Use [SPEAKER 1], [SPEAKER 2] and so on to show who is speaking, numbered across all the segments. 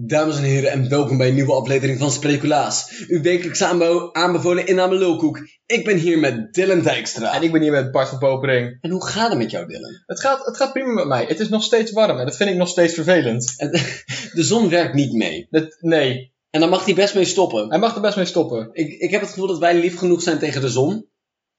[SPEAKER 1] Dames en heren en welkom bij een nieuwe aflevering van Spreculaas. Uw wekelijks aanbe- aanbevolen inname Lulkoek. Ik ben hier met Dylan Dijkstra.
[SPEAKER 2] En ik ben hier met Bart van Popering.
[SPEAKER 1] En hoe gaat het met jou Dylan?
[SPEAKER 2] Het gaat, het gaat prima met mij. Het is nog steeds warm en dat vind ik nog steeds vervelend.
[SPEAKER 1] En- De zon werkt niet mee.
[SPEAKER 2] Dat, nee,
[SPEAKER 1] En daar mag hij best mee stoppen.
[SPEAKER 2] hij mag er best mee stoppen.
[SPEAKER 1] Ik, ik heb het gevoel dat wij lief genoeg zijn tegen de zon.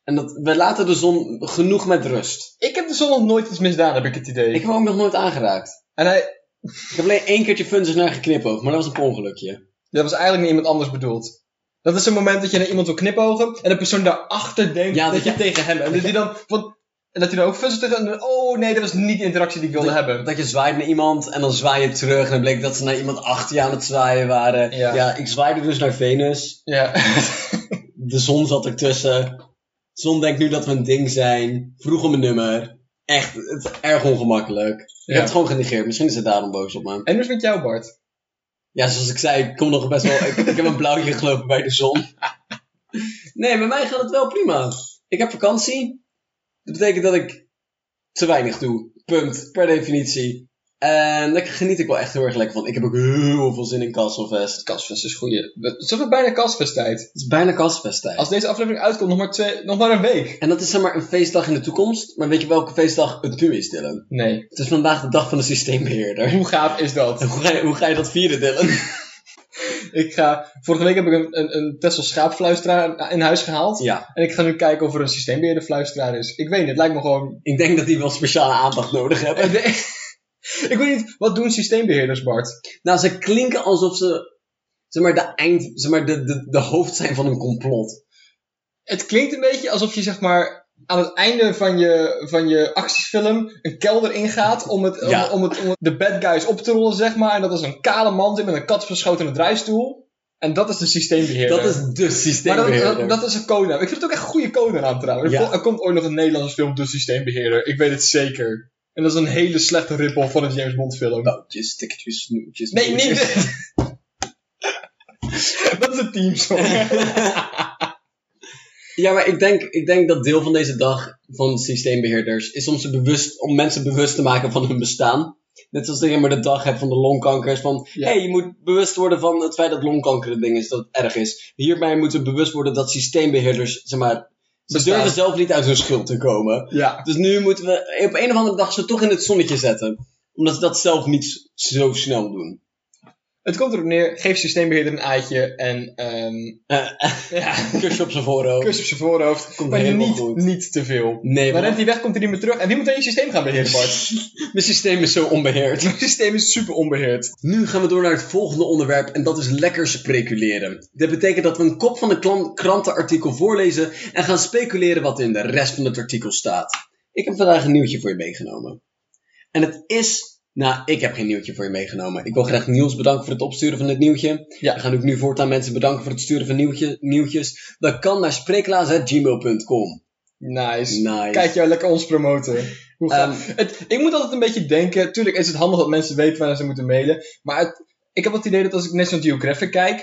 [SPEAKER 1] En dat we laten de zon genoeg met rust.
[SPEAKER 2] Ik heb de zon nog nooit iets misdaan, heb ik het idee.
[SPEAKER 1] Ik heb hem ook nog nooit aangeraakt.
[SPEAKER 2] En hij,
[SPEAKER 1] Ik heb alleen één keertje funzes naar geknipoogd, maar dat was een ongelukje.
[SPEAKER 2] dat was eigenlijk niet iemand anders bedoeld. Dat is een moment dat je naar iemand wil knipogen en de persoon daarachter denkt
[SPEAKER 1] Ja,
[SPEAKER 2] dat,
[SPEAKER 1] dat
[SPEAKER 2] je
[SPEAKER 1] je-
[SPEAKER 2] tegen hem en dat hij dan van, en dat hij dan ook fuzzelt tegen en oh nee, dat was niet de interactie die ik wilde hebben.
[SPEAKER 1] Dat je zwaait naar iemand en dan zwaai je terug. En dan bleek dat ze naar iemand achter je aan het zwaaien waren.
[SPEAKER 2] Ja.
[SPEAKER 1] ja ik zwaaide dus naar Venus.
[SPEAKER 2] Ja.
[SPEAKER 1] De zon zat ertussen. De zon denkt nu dat we een ding zijn. Vroeg om een nummer. Echt, het is erg ongemakkelijk. Ik
[SPEAKER 2] Ja.
[SPEAKER 1] heb het gewoon genegeerd. Misschien is het daarom boos op me.
[SPEAKER 2] En hoe is het met jou, Bart?
[SPEAKER 1] Ja, zoals ik zei, ik kom nog best wel... ik, ik heb een blauwtje gelopen bij de zon. Nee, bij mij gaat het wel prima. Ik heb vakantie. Dat betekent dat ik te weinig doe. Punt. Per definitie. En daar geniet ik wel echt heel erg lekker van. Ik heb ook heel veel zin in Castlefest.
[SPEAKER 2] Kasfest is goeie. We- Het is toch bijna kasfesttijd.
[SPEAKER 1] Het is bijna Castlefest
[SPEAKER 2] Als deze aflevering uitkomt, nog maar, twee, nog maar een week.
[SPEAKER 1] En dat is zeg maar een feestdag in de toekomst. Maar weet je welke feestdag het nu is, Dylan?
[SPEAKER 2] Nee.
[SPEAKER 1] Het is vandaag de dag van de systeembeheerder.
[SPEAKER 2] Hoe gaaf is dat?
[SPEAKER 1] Hoe ga je, hoe ga je dat vieren, Dylan?
[SPEAKER 2] Ik ga, vorige week heb ik een, een, een Tesla schaapfluisteraar in huis gehaald.
[SPEAKER 1] Ja,
[SPEAKER 2] En ik ga nu kijken of er een systeembeheerder fluisteraar is. Ik weet niet, het lijkt me gewoon...
[SPEAKER 1] ik denk dat die wel speciale aandacht nodig hebben.
[SPEAKER 2] ik weet niet, wat doen systeembeheerders, Bart?
[SPEAKER 1] Nou, ze klinken alsof ze, zeg maar, de, eind, zeg maar, de, de, de hoofd zijn van een complot.
[SPEAKER 2] Het klinkt een beetje alsof je, zeg maar, aan het einde van je, van je actiefilm een kelder ingaat om, het, om-
[SPEAKER 1] Ja.
[SPEAKER 2] om, het, om het- de bad guys op te rollen, zeg maar. En dat is een kale man zit met een katsverschotene draaistoel. En dat is de systeembeheerder.
[SPEAKER 1] Dat is de
[SPEAKER 2] maar dat,
[SPEAKER 1] systeembeheerder.
[SPEAKER 2] dat, dat is een codenaam. Ik vind het ook echt een goede codenaam trouwens. Er
[SPEAKER 1] Ja.
[SPEAKER 2] vol- Er komt ooit nog een Nederlandse film, De Systeembeheerder. Ik weet het zeker. En dat is een hele slechte rip-off van een James Bond film.
[SPEAKER 1] Boutjes, tikkertjes, Nou, snoepjes.
[SPEAKER 2] nee, niet dat is een teamsong.
[SPEAKER 1] Ja, maar ik denk, ik denk dat deel van deze dag van systeembeheerders is om, ze bewust, om mensen bewust te maken van hun bestaan. Net zoals dat je maar de dag hebt van de longkankers. Van,
[SPEAKER 2] Ja.
[SPEAKER 1] hey, je moet bewust worden van het feit dat longkanker een ding is, dat het erg is. Hierbij moeten we bewust worden dat systeembeheerders, zeg maar, ze
[SPEAKER 2] Bestaan.
[SPEAKER 1] durven zelf niet uit hun schuld te komen.
[SPEAKER 2] ja.
[SPEAKER 1] Dus nu moeten we op een of andere dag ze toch in het zonnetje zetten. Omdat ze dat zelf niet zo snel doen.
[SPEAKER 2] Het komt erop neer, geef systeembeheerder een aaitje en ehm
[SPEAKER 1] Eh,
[SPEAKER 2] ja,
[SPEAKER 1] kusje op zijn voorhoofd.
[SPEAKER 2] kus op zijn voorhoofd.
[SPEAKER 1] Komt
[SPEAKER 2] maar
[SPEAKER 1] helemaal
[SPEAKER 2] niet,
[SPEAKER 1] goed.
[SPEAKER 2] niet te veel.
[SPEAKER 1] Nee,
[SPEAKER 2] Maar
[SPEAKER 1] maar
[SPEAKER 2] rent hij weg, komt hij niet meer terug. En wie moet dan je systeem gaan beheren, Bart?
[SPEAKER 1] mijn systeem is zo onbeheerd.
[SPEAKER 2] Het systeem is super onbeheerd.
[SPEAKER 1] Nu gaan we door naar het volgende onderwerp en dat is lekker speculeren. Dit betekent dat we een kop van een klan- krantenartikel voorlezen en gaan speculeren wat er in de rest van het artikel staat. Ik heb vandaag een nieuwtje voor je meegenomen. En het is. Nou, ik heb geen nieuwtje voor je meegenomen. Ik wil graag Niels bedanken voor het opsturen van dit nieuwtje.
[SPEAKER 2] Ja.
[SPEAKER 1] We gaan ook nu voortaan mensen bedanken voor het sturen van nieuwtje, nieuwtjes. Dat kan naar spreeklaas.gmail.com.
[SPEAKER 2] Nice.
[SPEAKER 1] Nice.
[SPEAKER 2] Kijk jou lekker ons promoten. Hoe gaaf.
[SPEAKER 1] Ehm,
[SPEAKER 2] Het- ik moet altijd een beetje denken. Tuurlijk is het handig dat mensen weten waar ze moeten mailen. Maar het- ik heb het idee dat als ik National Geographic kijk.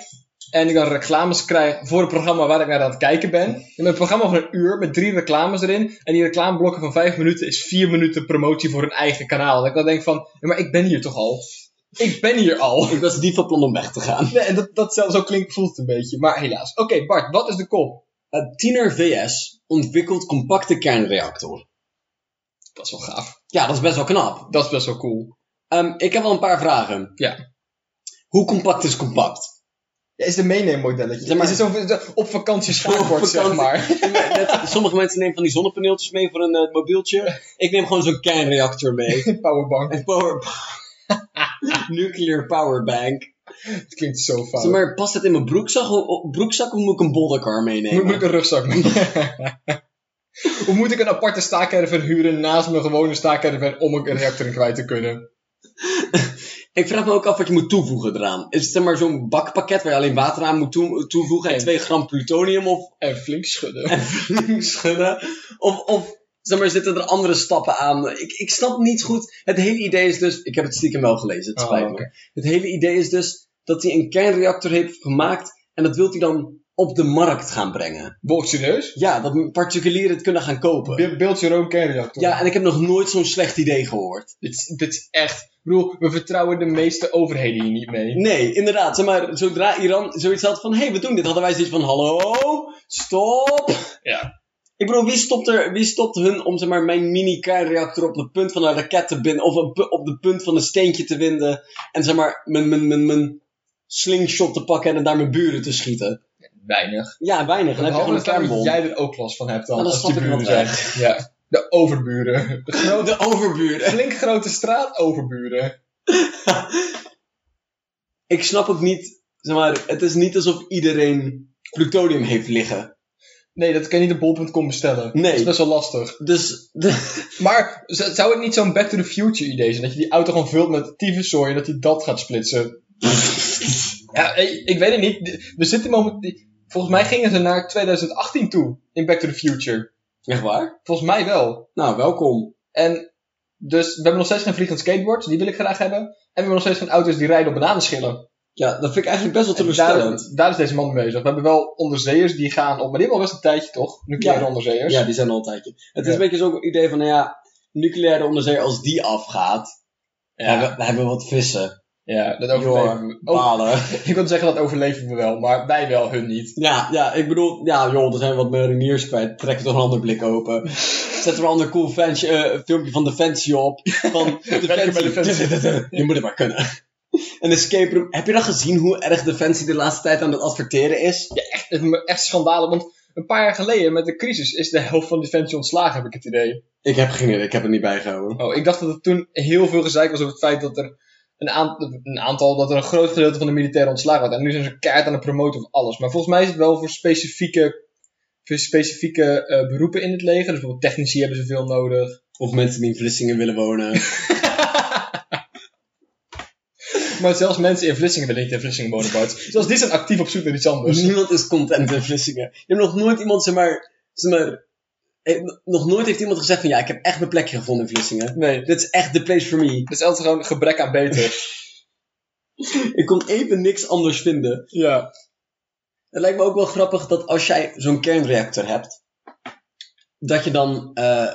[SPEAKER 2] En ik dan reclames krijg voor het programma waar ik naar aan het kijken ben. Dan heb ik een programma van een uur met drie reclames erin. En die reclameblokken van vijf minuten is vier minuten promotie voor hun eigen kanaal. Dat ik dan denk van, ja, maar ik ben hier toch al. Ik ben hier al.
[SPEAKER 1] ik was niet van plan om weg te gaan.
[SPEAKER 2] Nee, en dat, dat zelfs zo klinkt, voelt het een beetje. Maar helaas. Oké, Bart, wat is de kop?
[SPEAKER 1] Eh, Tiener VS ontwikkelt compacte kernreactor.
[SPEAKER 2] Dat is wel gaaf.
[SPEAKER 1] Ja, dat is best wel knap.
[SPEAKER 2] Dat is best wel cool.
[SPEAKER 1] Ehm, ik heb wel een paar vragen.
[SPEAKER 2] Ja.
[SPEAKER 1] Hoe compact is compact?
[SPEAKER 2] Ja, is het een meeneemmodelletje?
[SPEAKER 1] Zeg maar-
[SPEAKER 2] is het zo'n op vakantie schaakbord, zeg
[SPEAKER 1] vakantie.
[SPEAKER 2] maar?
[SPEAKER 1] Net- sommige mensen nemen van die zonnepaneeltjes mee voor een eh, mobieltje. Ik neem gewoon zo'n kernreactor mee.
[SPEAKER 2] powerbank.
[SPEAKER 1] Een power... Nuclear powerbank.
[SPEAKER 2] Het klinkt zo fout.
[SPEAKER 1] Zeg maar, past het in mijn broekzak, o- broekzak of moet ik een bolderkar
[SPEAKER 2] Moet, moet
[SPEAKER 1] meenemen?
[SPEAKER 2] ik een rugzak mee? Hoe moet ik een aparte staakerven huren naast mijn gewone staakerven om ook een reactor in kwijt te kunnen?
[SPEAKER 1] Ik vraag me ook af wat je moet toevoegen eraan. Is het zeg maar zo'n bakpakket waar je alleen water aan moet toe- toevoegen en 2 gram plutonium of
[SPEAKER 2] En flink schudden.
[SPEAKER 1] schudden. Of, of zeg maar, zitten er andere stappen aan? Ik, ik snap niet goed. Het hele idee is dus. Ik heb het stiekem wel gelezen, het
[SPEAKER 2] Oh,
[SPEAKER 1] spijt me.
[SPEAKER 2] oké.
[SPEAKER 1] Het hele idee is dus dat hij een kernreactor heeft gemaakt. En dat wil hij dan op de markt gaan brengen.
[SPEAKER 2] Wow, serieus?
[SPEAKER 1] Ja, dat particulieren het kunnen gaan kopen.
[SPEAKER 2] Be- Beeld je own kernreactor.
[SPEAKER 1] Ja, en ik heb nog nooit zo'n slecht idee gehoord.
[SPEAKER 2] Dit, is- dit is echt... Ik bedoel, we vertrouwen de meeste overheden hier niet mee.
[SPEAKER 1] Nee, inderdaad. Zeg maar, zodra Iran zoiets had van... Hé, hey, we doen dit. Hadden wij zoiets van... Hallo, stop.
[SPEAKER 2] Ja.
[SPEAKER 1] Ik bedoel, wie stopt, er, wie stopt hun om zeg maar, mijn mini-kernreactor op de punt van een raket te binden... Of op, op de punt van een steentje te winden. En zeg maar, mijn, mijn, mijn, mijn slingshot te pakken en daar mijn buren te schieten.
[SPEAKER 2] Weinig.
[SPEAKER 1] Ja, weinig. En dan heb je
[SPEAKER 2] Behalve
[SPEAKER 1] gewoon
[SPEAKER 2] dat
[SPEAKER 1] een kernbom.
[SPEAKER 2] jij er ook last van hebt dan.
[SPEAKER 1] Maar dat
[SPEAKER 2] als die
[SPEAKER 1] snap ik
[SPEAKER 2] buren
[SPEAKER 1] wel
[SPEAKER 2] zijn. Ja. De overburen. De grote
[SPEAKER 1] De overburen.
[SPEAKER 2] Flink grote straat overburen.
[SPEAKER 1] Ik snap ook niet... Zeg maar, het is niet alsof iedereen plutonium heeft liggen.
[SPEAKER 2] Nee, dat kan je niet op bol.com bestellen.
[SPEAKER 1] Nee.
[SPEAKER 2] Dat is best wel lastig.
[SPEAKER 1] Dus...
[SPEAKER 2] Maar z- zou het niet zo'n Back to the Future idee zijn? Dat je die auto gewoon vult met tyfuszooi en dat hij dat gaat splitsen? ja, ik, ik weet het niet. We zitten momenteel... Volgens mij gingen ze naar 2018 toe in Back to the Future.
[SPEAKER 1] Echt waar?
[SPEAKER 2] Volgens mij wel.
[SPEAKER 1] Nou, welkom.
[SPEAKER 2] En dus we hebben nog steeds geen vliegend skateboards. Die wil ik graag hebben. En we hebben nog steeds geen auto's die rijden op bananenschillen.
[SPEAKER 1] Ja, dat vind ik eigenlijk best wel
[SPEAKER 2] En
[SPEAKER 1] teleurstellend.
[SPEAKER 2] Daar, daar is deze man mee bezig. We hebben wel onderzeeërs die gaan op. Maar die hebben al best een tijdje toch? Nucleaire
[SPEAKER 1] Ja.
[SPEAKER 2] onderzeeërs.
[SPEAKER 1] Ja, die zijn al een tijdje. Het is
[SPEAKER 2] Ja.
[SPEAKER 1] een beetje zo'n idee van, nou ja, nucleaire onderzee, als die afgaat, hebben, we hebben wat vissen.
[SPEAKER 2] Ja, dat overleven
[SPEAKER 1] Joh,
[SPEAKER 2] we. Oh,
[SPEAKER 1] balen.
[SPEAKER 2] ik wil zeggen dat overleven we wel, maar wij wel, hun niet.
[SPEAKER 1] Ja, ja, ik bedoel, ja joh, er zijn wat mariniers kwijt. Trek toch een ander blik open. Zet er een ander cool fansje, eh, filmpje van Defensie op. Van
[SPEAKER 2] Werken bij Defensie.
[SPEAKER 1] Je moet het maar kunnen. Een escape room. Heb je dan gezien hoe erg Defensie de laatste tijd aan het adverteren is?
[SPEAKER 2] Echt, het me- echt schandalen, want een paar jaar geleden met de crisis is de helft van Defensie ontslagen, heb ik het idee.
[SPEAKER 1] Ik heb geen idee, ik heb het niet bijgehouden.
[SPEAKER 2] Oh, ik dacht dat het toen heel veel gezeik was over het feit dat er een, aan- een aantal, dat er een groot gedeelte van de militairen ontslagen werd. En nu zijn ze keihard aan het promoten van alles. Maar volgens mij is het wel voor specifieke, voor specifieke eh, beroepen in het leger. Dus bijvoorbeeld technici hebben ze veel nodig.
[SPEAKER 1] Of mensen die in Vlissingen willen wonen.
[SPEAKER 2] Maar zelfs mensen in Vlissingen willen niet in Vlissingen wonen, Bart. Zelfs die zijn actief op zoek naar iets anders.
[SPEAKER 1] Niemand is content in Vlissingen. Je hebt nog nooit iemand, zeg maar, zeg maar eh, n- nog nooit heeft iemand gezegd van ja, ik heb echt mijn plekje gevonden in Vlissingen.
[SPEAKER 2] Nee,
[SPEAKER 1] Dit is echt de place for me.
[SPEAKER 2] Dat is altijd gewoon een gebrek aan beter.
[SPEAKER 1] Ik kon even niks anders vinden.
[SPEAKER 2] ja.
[SPEAKER 1] Het lijkt me ook wel grappig dat als jij zo'n kernreactor hebt, dat je dan, eh,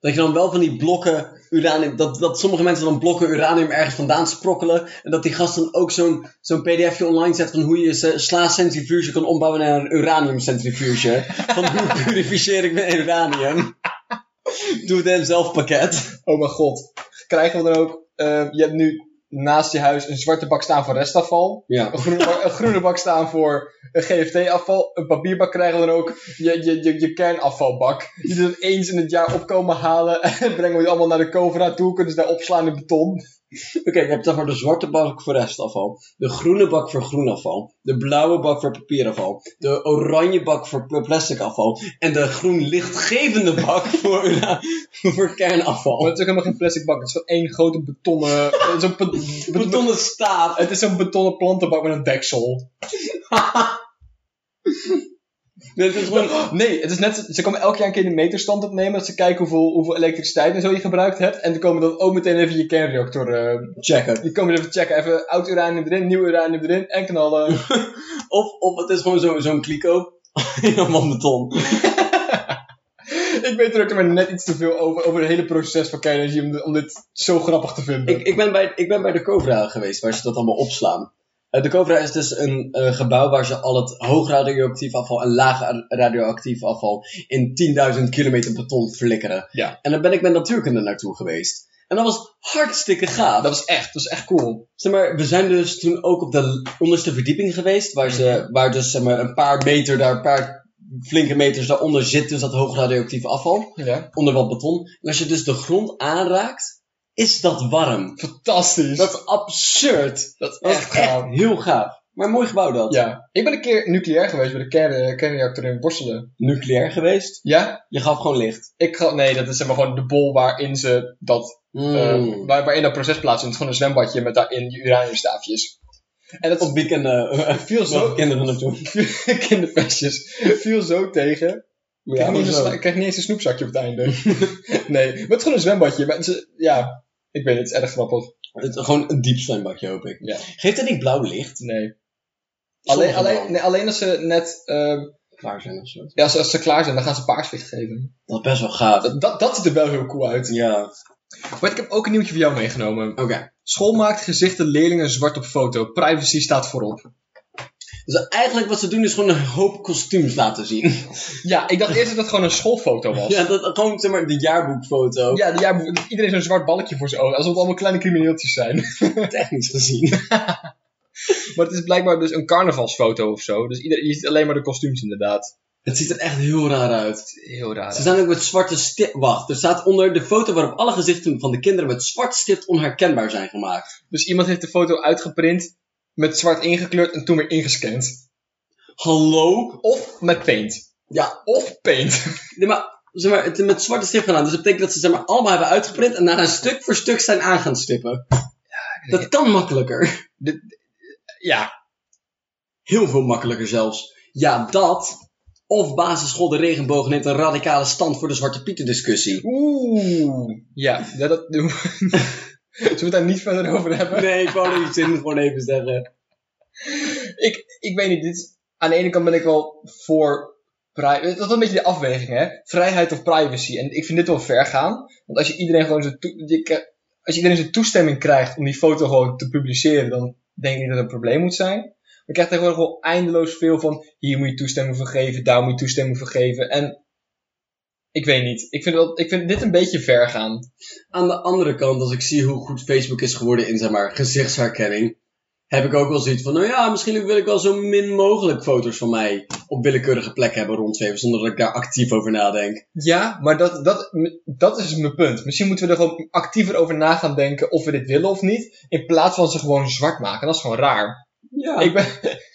[SPEAKER 1] dat je dan wel van die blokken uranium, dat, dat sommige mensen dan blokken uranium ergens vandaan sprokkelen. En dat die gast dan ook zo'n zo'n pdfje online zet van hoe je ze- sla-centrifuge kan ombouwen naar een uraniumcentrifuge. van hoe purificeer ik mijn uranium? Doe het hem zelf pakket.
[SPEAKER 2] Oh mijn god. Krijgen we dan ook... eh, je hebt nu naast je huis een zwarte bak staan voor restafval.
[SPEAKER 1] Ja.
[SPEAKER 2] Een groene, bak, een groene bak staan voor een GFT-afval. Een papierbak krijgen we dan ook je, je, je, je kernafvalbak. Die ze dan eens in het jaar opkomen halen. En brengen we die allemaal naar de Covra toe. Kunnen ze daar opslaan in beton.
[SPEAKER 1] Oké, je hebt zeg maar de zwarte bak voor restafval, de groene bak voor groenafval, de blauwe bak voor papierafval, de oranje bak voor pl- plastic afval en de groen lichtgevende bak voor, ura- voor
[SPEAKER 2] Maar
[SPEAKER 1] kernafval.
[SPEAKER 2] het is ook helemaal geen plastic bak. Het is gewoon één grote betonnen... Het is, een be- be-
[SPEAKER 1] Betonnen staat.
[SPEAKER 2] het is zo'n betonnen plantenbak met een deksel.
[SPEAKER 1] Dit is gewoon...
[SPEAKER 2] Nee, het is net, ze komen elk jaar een keer de meterstand opnemen. Dat ze kijken hoeveel, hoeveel elektriciteit en zo je gebruikt hebt. En dan komen dan ook meteen even je kernreactor. eh
[SPEAKER 1] Checken.
[SPEAKER 2] die komen even checken. Even oud uranium erin, nieuw uranium erin en knallen.
[SPEAKER 1] Of, of het is gewoon zo- zo'n kliko. Helemaal beton.
[SPEAKER 2] ik weet er ook maar net iets te veel over. Over het hele proces van kernenergie. Om, dit- om dit zo grappig te vinden.
[SPEAKER 1] Ik, ik, ben bij, ik ben bij de Cobra geweest, waar ze dat allemaal opslaan. Eh, de Cobra is dus een eh, gebouw waar ze al het hoog radioactief afval en laag ra- radioactief afval in 10.000 kilometer beton flikkeren.
[SPEAKER 2] Ja.
[SPEAKER 1] En dan ben ik met natuurkunde naartoe geweest. En dat was hartstikke gaaf.
[SPEAKER 2] Dat is echt, dat is echt cool.
[SPEAKER 1] Zeg maar, we zijn dus toen ook op de l- onderste verdieping geweest, waar, ze, waar dus zeg maar, een paar meter daar, een paar flinke meters daaronder zit dus dat hoog radioactief afval,
[SPEAKER 2] Ja.
[SPEAKER 1] onder wat beton. En als je dus de grond aanraakt, is dat warm.
[SPEAKER 2] Fantastisch.
[SPEAKER 1] Dus Dat is absurd.
[SPEAKER 2] dat
[SPEAKER 1] Dat
[SPEAKER 2] is
[SPEAKER 1] is
[SPEAKER 2] echt gaaf.
[SPEAKER 1] echt heel gaaf. Maar mooi gebouw dat.
[SPEAKER 2] Ja. Ik ben een keer nucleair geweest bij de kern, eh, kernreactor in Borselen.
[SPEAKER 1] Nucleair geweest.
[SPEAKER 2] Ja?
[SPEAKER 1] Je gaf gewoon licht.
[SPEAKER 2] Ik ga, nee, dat is zeg maar gewoon de bol waarin ze dat Eh,
[SPEAKER 1] Mm.
[SPEAKER 2] waar, waarin dat proces plaatsvindt. Gewoon een zwembadje met daarin die uraniumstaafjes. En dat
[SPEAKER 1] Op weekenden eh,
[SPEAKER 2] viel
[SPEAKER 1] wel
[SPEAKER 2] zo...
[SPEAKER 1] kinderen naartoe.
[SPEAKER 2] kinderfestjes. viel zo tegen. Ik
[SPEAKER 1] Ja,
[SPEAKER 2] kreeg, niet eens een, sla-
[SPEAKER 1] hoezo?
[SPEAKER 2] ik kreeg niet eens een snoepzakje op het einde. nee, maar het is gewoon een zwembadje. Maar het is- ja, ik weet het. Het is erg grappig.
[SPEAKER 1] Het is gewoon een diep zwembadje hoop ik.
[SPEAKER 2] Ja.
[SPEAKER 1] Geeft dat niet blauw licht?
[SPEAKER 2] Nee. Alleen,
[SPEAKER 1] Sommige
[SPEAKER 2] alleen,
[SPEAKER 1] wel.
[SPEAKER 2] nee, alleen als ze net eh,
[SPEAKER 1] Klaar zijn of zo.
[SPEAKER 2] ja, als, als ze klaar zijn, dan gaan ze paarslicht geven.
[SPEAKER 1] Dat is best wel gaaf.
[SPEAKER 2] Dat, dat, dat ziet er wel heel cool uit.
[SPEAKER 1] Ja.
[SPEAKER 2] Maar ik heb ook een nieuwtje voor jou meegenomen.
[SPEAKER 1] Oké.
[SPEAKER 2] School maakt gezichten leerlingen zwart op foto. Privacy staat voorop.
[SPEAKER 1] Dus eigenlijk wat ze doen is gewoon een hoop kostuums laten zien.
[SPEAKER 2] Ja, ik dacht eerst dat het gewoon een schoolfoto was.
[SPEAKER 1] Ja, dat, gewoon zeg maar de jaarboekfoto.
[SPEAKER 2] Ja, de jaarboek- iedereen zo'n zwart balkje voor zijn ogen. Alsof het allemaal kleine crimineeltjes zijn.
[SPEAKER 1] Technisch gezien.
[SPEAKER 2] Maar het is blijkbaar dus een carnavalsfoto of zo. Dus ieder, je ziet alleen maar de kostuums inderdaad.
[SPEAKER 1] Het ziet er echt heel raar uit.
[SPEAKER 2] Heel raar.
[SPEAKER 1] Ze staan ook met zwarte stift... Wacht, er staat onder de foto waarop alle gezichten van de kinderen met zwart stift onherkenbaar zijn gemaakt.
[SPEAKER 2] Dus iemand heeft de foto uitgeprint, met zwart ingekleurd en toen weer ingescand.
[SPEAKER 1] Hallo?
[SPEAKER 2] Of met paint.
[SPEAKER 1] Ja.
[SPEAKER 2] Of paint.
[SPEAKER 1] Nee, maar, zeg maar het is met zwarte stift gedaan. Dus dat betekent dat ze zeg maar, allemaal hebben uitgeprint en daarna stuk voor stuk zijn aan gaan stippen. Dat kan makkelijker.
[SPEAKER 2] ja.
[SPEAKER 1] Heel veel makkelijker zelfs. Ja, dat... Of basisschool De Regenboog neemt een radicale stand voor de Zwarte Pieten discussie.
[SPEAKER 2] Oeh. Ja, ja, dat doen we. Zullen we het daar niet verder over hebben?
[SPEAKER 1] Nee, ik wou niet zin gewoon even zeggen.
[SPEAKER 2] Ik, ik weet niet. Dit, is- aan de ene kant ben ik wel voor. pri- Dat is een beetje de afweging, hè? Vrijheid of privacy. En ik vind dit wel ver gaan. Want als je iedereen gewoon zijn, toe- je k- als je iedereen zijn toestemming krijgt om die foto gewoon te publiceren, dan denk ik niet dat het een probleem moet zijn. Maar je krijgt tegenwoordig wel eindeloos veel van hier moet je toestemming voor geven, daar moet je toestemming voor geven. En ik weet niet. Ik vind, dat, ik vind dit een beetje ver gaan.
[SPEAKER 1] Aan de andere kant, als ik zie hoe goed Facebook is geworden in zeg maar, gezichtsherkenning, heb ik ook wel zoiets van, nou ja, misschien wil ik wel zo min mogelijk foto's van mij op willekeurige plekken hebben rondzweven, zonder dat ik daar actief over nadenk.
[SPEAKER 2] Ja, maar dat, dat, dat is dus mijn punt. Misschien moeten we er gewoon actiever over na gaan denken of we dit willen of niet. In plaats van ze gewoon zwart maken. Dat is gewoon raar.
[SPEAKER 1] Ja.
[SPEAKER 2] Ik ben...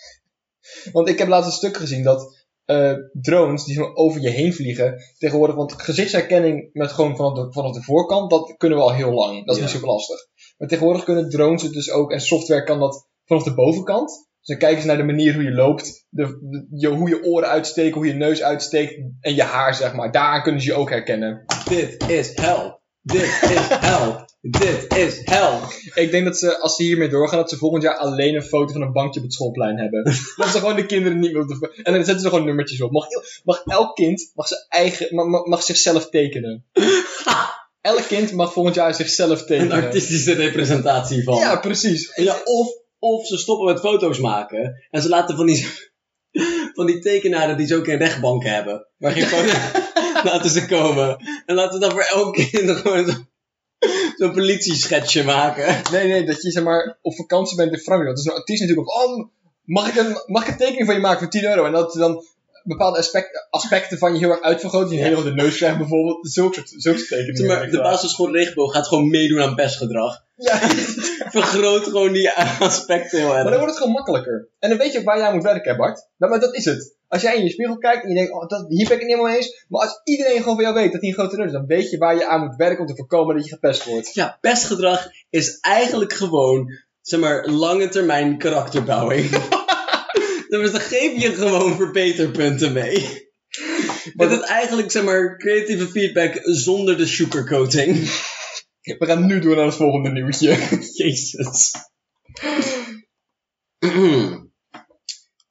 [SPEAKER 2] Want ik heb laatst een stuk gezien dat eh, drones die zo over je heen vliegen. Tegenwoordig, want gezichtsherkenning met gewoon vanaf de, vanaf de voorkant, dat kunnen we al heel lang. Dat is
[SPEAKER 1] Ja.
[SPEAKER 2] niet zo lastig. Maar tegenwoordig kunnen drones het dus ook en software kan dat vanaf de bovenkant. Dus dan kijken ze naar de manier hoe je loopt, de, de- je, hoe je oren uitsteken, hoe je neus uitsteekt en je haar, zeg maar. Daaraan kunnen ze je ook herkennen.
[SPEAKER 1] Dit is hel. Dit is hel. Dit is hel.
[SPEAKER 2] Ik denk dat ze, als ze hiermee doorgaan, dat ze volgend jaar alleen een foto van een bankje op het schoolplein hebben. dat ze gewoon de kinderen niet meer op de... En dan zetten ze er gewoon nummertjes op. Mag, mag elk kind mag zijn eigen, ma- ma- mag, zichzelf tekenen. Elk kind mag volgend jaar zichzelf
[SPEAKER 1] Een
[SPEAKER 2] tekenen.
[SPEAKER 1] artistische representatie van.
[SPEAKER 2] Ja, precies.
[SPEAKER 1] Ja, of, of ze stoppen met foto's maken en ze laten van die, van die tekenaren die ze ook in rechtbanken hebben, waar geen foto laten ze komen. En laten we dan voor elk kind gewoon zo- zo'n politieschetsje maken.
[SPEAKER 2] Nee, nee, dat je zeg maar op vakantie bent in Frankrijk. Dat is een artiest natuurlijk op. Oh, mag ik, een, mag ik een tekening van je maken voor 10 euro? En dat ze dan bepaalde aspect- aspecten van je heel erg uitvergroten. Die een hele grote neus krijgt bijvoorbeeld. Zulke soort, zulke soort tekeningen.
[SPEAKER 1] Maar de basisschool Regenboog gaat gewoon meedoen aan pestgedrag.
[SPEAKER 2] Ja.
[SPEAKER 1] Vergroot gewoon die aspecten heel
[SPEAKER 2] Maar dan
[SPEAKER 1] erg.
[SPEAKER 2] wordt het gewoon makkelijker. En dan weet je ook waar jij aan moet werken, Bart. Nou, maar dat is het. Als jij in je spiegel kijkt en je denkt, oh, dat, hier ben ik het niet helemaal eens. Maar als iedereen gewoon van jou weet dat hij een grote neus is, dan weet je waar je aan moet werken om te voorkomen dat je gepest wordt.
[SPEAKER 1] Ja, pestgedrag is eigenlijk gewoon, zeg maar, lange termijn karakterbouwing. Dus dan geef je gewoon verbeterpunten mee.
[SPEAKER 2] Maar
[SPEAKER 1] Maar dat eigenlijk, zeg maar, creatieve feedback zonder de sugarcoating.
[SPEAKER 2] We gaan nu door naar het volgende nieuwtje.
[SPEAKER 1] Jezus.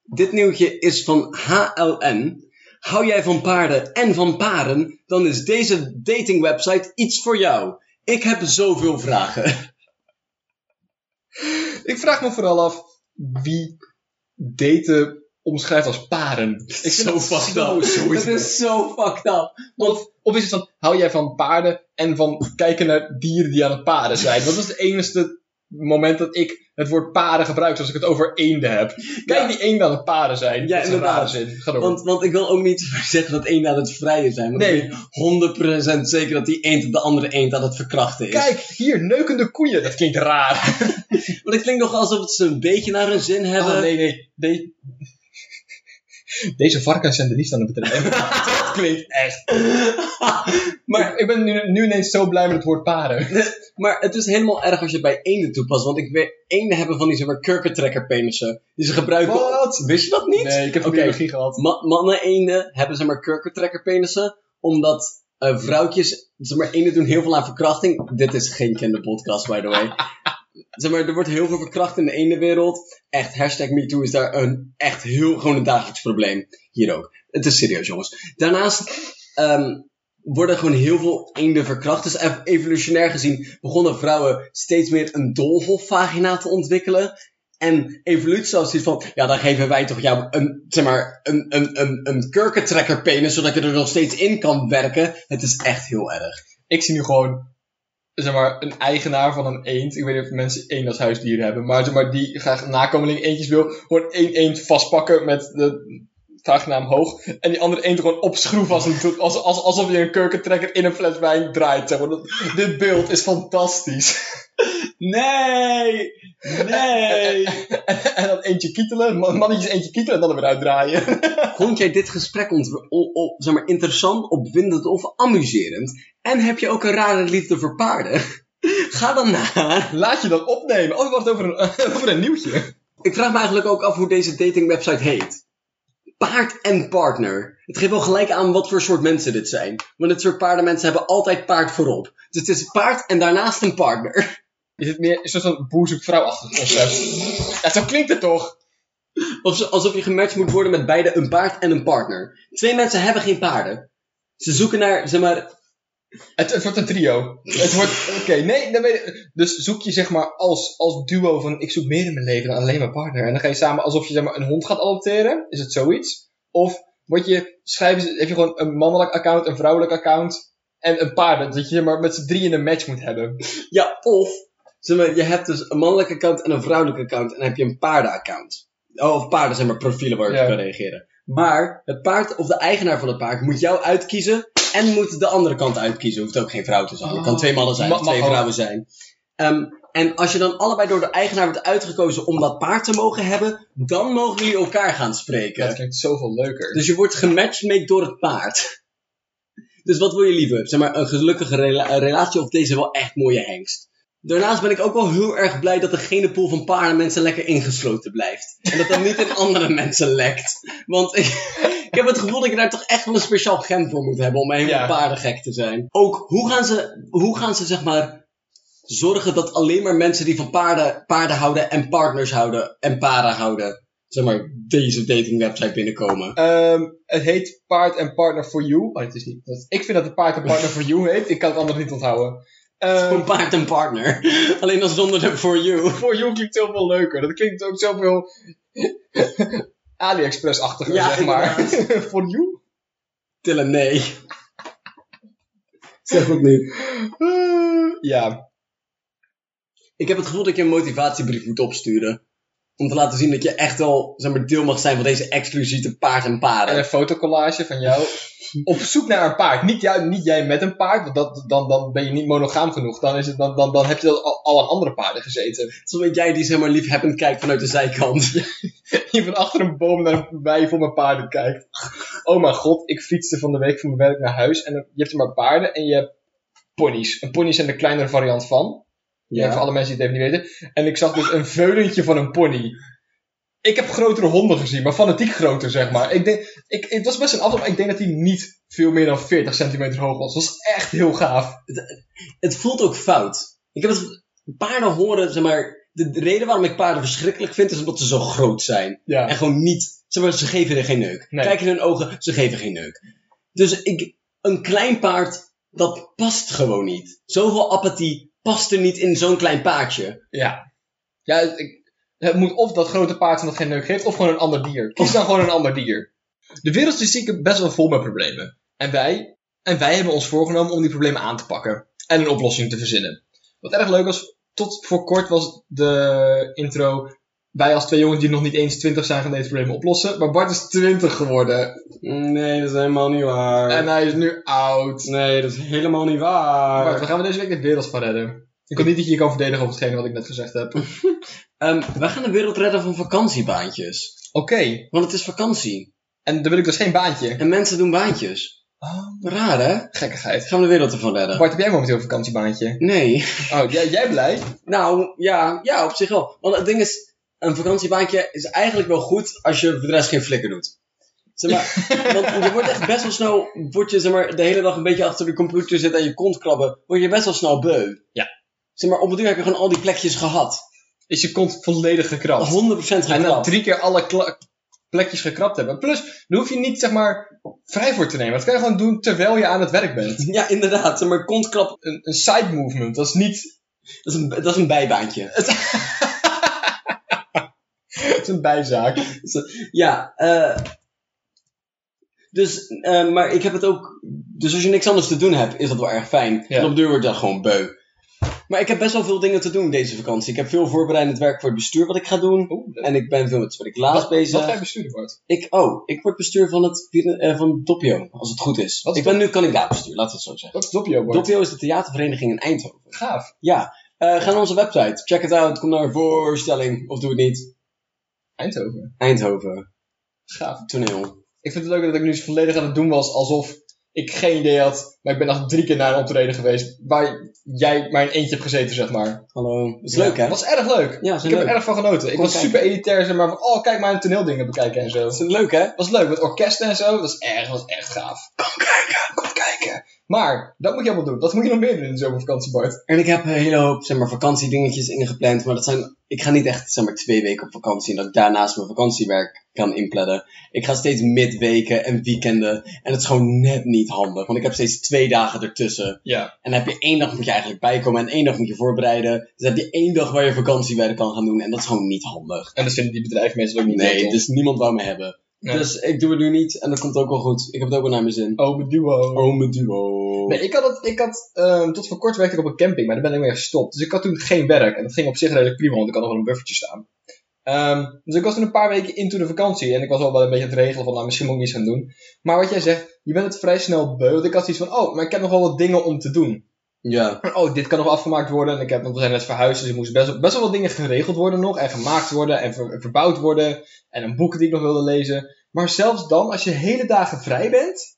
[SPEAKER 1] Dit nieuwtje is van HLN. Hou jij van paarden en van paren, dan is deze datingwebsite iets voor jou. Ik heb zoveel vragen.
[SPEAKER 2] Ik vraag me vooral af wie daten omschrijft als paren. Ik vind
[SPEAKER 1] zo
[SPEAKER 2] dat
[SPEAKER 1] fucked
[SPEAKER 2] zo
[SPEAKER 1] up.
[SPEAKER 2] zoiets.
[SPEAKER 1] Dat is zo fucked up.
[SPEAKER 2] Of, of is het van, hou jij van paarden en van kijken naar dieren die aan het paren zijn? Dat is het enige moment dat ik het woord paren gebruik als ik het over eenden heb. Kijk
[SPEAKER 1] Ja.
[SPEAKER 2] die eenden aan het paren zijn.
[SPEAKER 1] Ja,
[SPEAKER 2] dat is een rare
[SPEAKER 1] inderdaad.
[SPEAKER 2] zin. Ga door.
[SPEAKER 1] Want, want ik wil ook niet zeggen dat één aan het vrijen zijn. Want
[SPEAKER 2] Nee.
[SPEAKER 1] ik weet 100% zeker dat die eend de andere eend aan het verkrachten is.
[SPEAKER 2] Kijk, hier, neukende koeien. Dat klinkt raar.
[SPEAKER 1] Want het klinkt nog alsof het ze een beetje naar hun zin hebben.
[SPEAKER 2] Oh, nee, nee. De- Deze varkens zijn de liefst aan het bedrijf. dat klinkt echt. Maar
[SPEAKER 1] maar,
[SPEAKER 2] ik ben nu, nu ineens zo blij met het woord paren.
[SPEAKER 1] maar het is helemaal erg als je het bij eenden toepast. Want ik weet, eenden hebben van die zeg maar, kurkentrekkerpenissen. Die ze gebruiken.
[SPEAKER 2] Wat?
[SPEAKER 1] Wist je dat niet?
[SPEAKER 2] Nee, ik heb een
[SPEAKER 1] Oké.
[SPEAKER 2] biologie gehad.
[SPEAKER 1] Ma- mannen eenden hebben zeg maar kurkentrekkerpenissen. Omdat eh, vrouwtjes, zeg maar eenden doen heel veel aan verkrachting. Dit is geen kinderpodcast by the way. Zeg maar, er wordt heel veel verkracht in de ene wereld. Echt, hashtag MeToo is daar een echt heel gewoon een dagelijks probleem. Hier ook. Het is serieus, jongens. Daarnaast ehm, worden gewoon heel veel eenden verkracht. Dus ev- evolutionair gezien begonnen vrouwen steeds meer een dolvolvagina te ontwikkelen. En evolutie was iets van, ja, dan geven wij toch jou een, zeg maar, een, een, een, een kurkentrekkerpenis, zodat je er nog steeds in kan werken. Het is echt heel erg.
[SPEAKER 2] Ik zie nu gewoon, zeg maar, een eigenaar van een eend. Ik weet niet of mensen eend als huisdier hebben, maar, zeg maar die graag nakomeling eendjes wil, gewoon één eend vastpakken met de vagina omhoog. En die andere eend gewoon opschroeven als een, als, als, alsof je een kurkentrekker in een fles wijn draait. Zeg maar. Dat- dit beeld is fantastisch.
[SPEAKER 1] Nee! Nee!
[SPEAKER 2] en dan eentje kietelen, man- mannetjes eentje kietelen en dan er weer uitdraaien.
[SPEAKER 1] Vond jij dit gesprek ontw- o- o- zeg maar, interessant, opwindend of amuserend? En heb je ook een rare liefde voor paarden? Ga dan naar.
[SPEAKER 2] Laat je dat opnemen. Oh, wacht, over een, over een nieuwtje.
[SPEAKER 1] Ik vraag me eigenlijk ook af hoe deze datingwebsite heet. Paard en partner. Het geeft wel gelijk aan wat voor soort mensen dit zijn. Want dit soort paardenmensen hebben altijd paard voorop. Dus het is paard en daarnaast een partner.
[SPEAKER 2] Is het meer een soort van boer zoekt vrouw achter concept? Ja, zo klinkt het toch?
[SPEAKER 1] Of zo- alsof je gematcht moet worden met beide een paard en een partner. Twee mensen hebben geen paarden. Ze zoeken naar, zeg maar,
[SPEAKER 2] Het, het wordt een trio. Het wordt, oké, nee, dan weet ik- dus zoek je zeg maar als, als duo van ik zoek meer in mijn leven dan alleen mijn partner. En dan ga je samen alsof je zeg maar een hond gaat adopteren. Is het zoiets? Of word je, schrijven ze, heb je gewoon een mannelijk account, een vrouwelijk account en een paard. Dat je zeg maar met z'n drieën een match moet hebben.
[SPEAKER 1] Ja, of zeg maar, je hebt dus een mannelijke account en een vrouwelijke account en dan heb je een paardenaccount. Oh, of paarden zijn maar profielen waar je
[SPEAKER 2] Ja.
[SPEAKER 1] op kan reageren. Maar het paard of de eigenaar van het paard moet jou uitkiezen en moet de andere kant uitkiezen. Hoeft ook geen vrouw te zijn. Het kan
[SPEAKER 2] Oh.
[SPEAKER 1] twee mannen zijn
[SPEAKER 2] Ma-
[SPEAKER 1] of twee
[SPEAKER 2] mag ook.
[SPEAKER 1] vrouwen zijn. Ehm, en als je dan allebei door de eigenaar wordt uitgekozen om dat paard te mogen hebben, dan mogen jullie elkaar gaan spreken.
[SPEAKER 2] Dat klinkt zoveel leuker.
[SPEAKER 1] Dus je wordt gematchmade door het paard. Dus wat wil je liever? Zeg maar een gelukkige rela- een relatie of deze wel echt mooie hengst? Daarnaast ben ik ook wel heel erg blij dat de genenpool van paarden mensen lekker ingesloten blijft. En dat dat niet in andere mensen lekt. Want ik, ik heb het gevoel dat je daar toch echt wel een speciaal gen voor moet hebben om helemaal
[SPEAKER 2] Ja.
[SPEAKER 1] paardengek te zijn. Ook, hoe gaan ze, hoe gaan ze zeg maar zorgen dat alleen maar mensen die van paarden, paarden houden en partners houden en paren houden, zeg maar, deze datingwebsite binnenkomen?
[SPEAKER 2] Ehm, het heet Paard and Partner for You. Oh, het is niet. dat- ik vind dat het Paard and Partner for You heet. Ik kan het anders niet onthouden. Ehm,
[SPEAKER 1] Gewoon paard en partner. Alleen dan zonder de for you.
[SPEAKER 2] for You klinkt zoveel leuker. Dat klinkt ook zoveel AliExpress-achtiger,
[SPEAKER 1] Ja,
[SPEAKER 2] zeg maar. for You?
[SPEAKER 1] Tillen, nee. Zeg ook niet.
[SPEAKER 2] Eh, ja.
[SPEAKER 1] Ik heb het gevoel dat je een motivatiebrief moet opsturen. Om te laten zien dat je echt wel zeg maar, deel mag zijn van deze exclusieve paard en
[SPEAKER 2] En
[SPEAKER 1] paren.
[SPEAKER 2] een fotocollage van jou. Op zoek naar een paard. Niet, jou, niet jij met een paard, want dat, dan, dan ben je niet monogaam genoeg. Dan, is het, dan, dan, dan heb je al, al aan andere paarden gezeten.
[SPEAKER 1] Zodat jij die zeg maar liefhebbend kijkt vanuit de zijkant.
[SPEAKER 2] je van achter een boom naar een wei voor mijn paarden kijkt. Oh mijn god, ik fietste van de week van mijn werk naar huis. En dan- je hebt er maar paarden en je hebt ponies. En ponies zijn de kleinere variant van. Ja. Voor alle mensen die het even niet weten. En ik zag dus een veulentje van een pony. Ik heb grotere honden gezien, maar fanatiek groter, zeg maar. Ik denk, ik, het was best een afstand, maar ik denk dat hij niet veel meer dan 40 centimeter hoog was. Dat was echt heel gaaf.
[SPEAKER 1] Het voelt ook fout. Ik heb het... Paarden horen, zeg maar... De de reden waarom ik paarden verschrikkelijk vind, is omdat ze zo groot zijn.
[SPEAKER 2] Ja.
[SPEAKER 1] En gewoon niet. Ze, ze geven er geen neuk.
[SPEAKER 2] Nee.
[SPEAKER 1] Kijk in hun ogen, ze geven geen neuk. Dus ik, een klein paard, dat past gewoon niet. Zoveel apathie past er niet in zo'n klein paardje.
[SPEAKER 2] Ja. Ja, het- ik, het moet of dat grote paard van dat geen neuk geeft, of gewoon een ander dier. Kies dan gewoon een ander dier. De wereld is zieken best wel vol met problemen. En wij, en wij hebben ons voorgenomen om die problemen aan te pakken. En een oplossing te verzinnen. Wat erg leuk was, tot voor kort was de intro... Wij als twee jongens die nog niet eens 20 zijn gaan deze problemen oplossen. Maar Bart is 20 geworden.
[SPEAKER 1] Nee, dat is helemaal niet waar.
[SPEAKER 2] En hij is nu oud.
[SPEAKER 1] nee, dat is helemaal niet waar.
[SPEAKER 2] Bart, waar gaan we deze week de wereld van redden? Ik hoop niet dat je je kan verdedigen over hetgeen wat ik net gezegd heb. Oké.
[SPEAKER 1] Ehm, wij gaan de wereld redden van vakantiebaantjes. Want het is vakantie.
[SPEAKER 2] En dan wil ik dus geen baantje.
[SPEAKER 1] En mensen doen baantjes. Raar, hè?
[SPEAKER 2] Gekkigheid.
[SPEAKER 1] Gaan we de wereld ervan redden?
[SPEAKER 2] Bart, heb jij momenteel een vakantiebaantje?
[SPEAKER 1] Nee.
[SPEAKER 2] Oh, jij, jij blij?
[SPEAKER 1] Nou, ja, ja, op zich wel. Want het ding is, een vakantiebaantje is eigenlijk wel goed als je voor de rest geen flikker doet. Zeg maar, want je wordt echt best wel snel, word je zeg maar, de hele dag een beetje achter de computer zitten en je kont krabben, word je best wel snel beu.
[SPEAKER 2] Ja.
[SPEAKER 1] Zeg maar, op het duur heb je gewoon al die plekjes gehad.
[SPEAKER 2] Is je kont volledig gekrapt.
[SPEAKER 1] 100%
[SPEAKER 2] En dan
[SPEAKER 1] gekrapt.
[SPEAKER 2] drie keer alle kla- plekjes gekrapt hebben. Plus, daar hoef je niet zeg maar vrij voor te nemen. Dat kan je gewoon doen terwijl je aan het werk bent.
[SPEAKER 1] Ja, inderdaad. Zeg maar, kontkrap,
[SPEAKER 2] Een, een side movement, dat is niet
[SPEAKER 1] dat is een, dat is een bijbaantje.
[SPEAKER 2] dat is een bijzaak.
[SPEAKER 1] Ja, eh, dus, eh, maar ik heb het ook... Dus als je niks anders te doen hebt, is dat wel erg fijn.
[SPEAKER 2] Ja.
[SPEAKER 1] En op de duur wordt dat gewoon beu. Maar ik heb best wel veel dingen te doen deze vakantie. Ik heb veel voorbereidend werk voor het bestuur wat ik ga doen.
[SPEAKER 2] Oeh, dat-
[SPEAKER 1] En ik ben veel met Speculaas
[SPEAKER 2] wat,
[SPEAKER 1] bezig.
[SPEAKER 2] wat jij bestuurder wordt.
[SPEAKER 1] Ik, oh, ik word bestuur van het Pir- eh, van Doppio, als het goed is.
[SPEAKER 2] Wat is
[SPEAKER 1] ik ben nu kandidaatbestuur, laten we het zo zeggen.
[SPEAKER 2] Dat is Doppio wordt.
[SPEAKER 1] Doppio is de theatervereniging in Eindhoven.
[SPEAKER 2] Gaaf.
[SPEAKER 1] Ja, eh, ga naar onze website. Check it out, kom naar een voorstelling. Of doe het niet.
[SPEAKER 2] Eindhoven.
[SPEAKER 1] Eindhoven,
[SPEAKER 2] Gaaf.
[SPEAKER 1] toneel.
[SPEAKER 2] Ik vind het leuk dat ik nu eens volledig aan het doen was alsof ik geen idee had. Maar ik ben nog drie keer naar een optreden geweest waar jij maar in eentje hebt gezeten, zeg maar.
[SPEAKER 1] Hallo. Dat is
[SPEAKER 2] Ja,
[SPEAKER 1] leuk, hè?
[SPEAKER 2] Dat was erg leuk.
[SPEAKER 1] Ja, is
[SPEAKER 2] ik heb
[SPEAKER 1] leuk.
[SPEAKER 2] er erg van genoten. Ik
[SPEAKER 1] Kom
[SPEAKER 2] was
[SPEAKER 1] kijken.
[SPEAKER 2] super elitair, zeg maar van, oh kijk maar een toneeldingen bekijken en zo.
[SPEAKER 1] Dat is leuk, hè?
[SPEAKER 2] was leuk, met orkesten en zo. Dat is erg, dat is echt gaaf. Kom kijken, kom kijken. Maar, dat moet je allemaal doen. Dat moet je nog meer doen in de zomervakantie, Bart.
[SPEAKER 1] En ik heb een hele hoop zeg maar, vakantiedingetjes ingepland. Maar dat zijn, ik ga niet echt zeg maar, twee weken op vakantie. En dat ik daarnaast mijn vakantiewerk kan inplannen. Ik ga steeds midweken en weekenden. En het is gewoon net niet handig. Want ik heb steeds twee dagen ertussen.
[SPEAKER 2] Ja.
[SPEAKER 1] En dan heb je één dag moet je eigenlijk bijkomen. En één dag moet je voorbereiden. Dus dan heb je één dag waar je vakantiewerk kan gaan doen. En dat is gewoon niet handig.
[SPEAKER 2] En dat vinden die bedrijven meestal ook niet leuk,
[SPEAKER 1] Nee,
[SPEAKER 2] toch?
[SPEAKER 1] dus niemand wou me hebben.
[SPEAKER 2] Nee.
[SPEAKER 1] Dus ik doe het nu niet. En dat komt ook wel goed. Ik heb het ook wel naar mijn zin.
[SPEAKER 2] Oh, mijn duo.
[SPEAKER 1] Oh, mijn duo.
[SPEAKER 2] Nee, ik had, het, ik had ehm, tot voor kort werkte ik op een camping, maar daar ben ik mee gestopt. Dus ik had toen geen werk. En dat ging op zich redelijk prima, want ik had nog wel een buffertje staan. Ehm, dus ik was toen een paar weken into de vakantie. En ik was al wel een beetje aan het regelen van, nou, misschien moet ik iets gaan doen. Maar wat jij zegt, je bent het vrij snel beu. Want ik had iets van, oh, maar ik heb nog wel wat dingen om te doen.
[SPEAKER 1] Ja.
[SPEAKER 2] van, oh, dit kan nog afgemaakt worden. En ik heb, want we zijn net verhuisd, dus er moesten best, wel- best wel wat dingen geregeld worden nog. En gemaakt worden en ver- verbouwd worden. En een boek die ik nog wilde lezen. Maar zelfs dan, als je hele dagen vrij bent,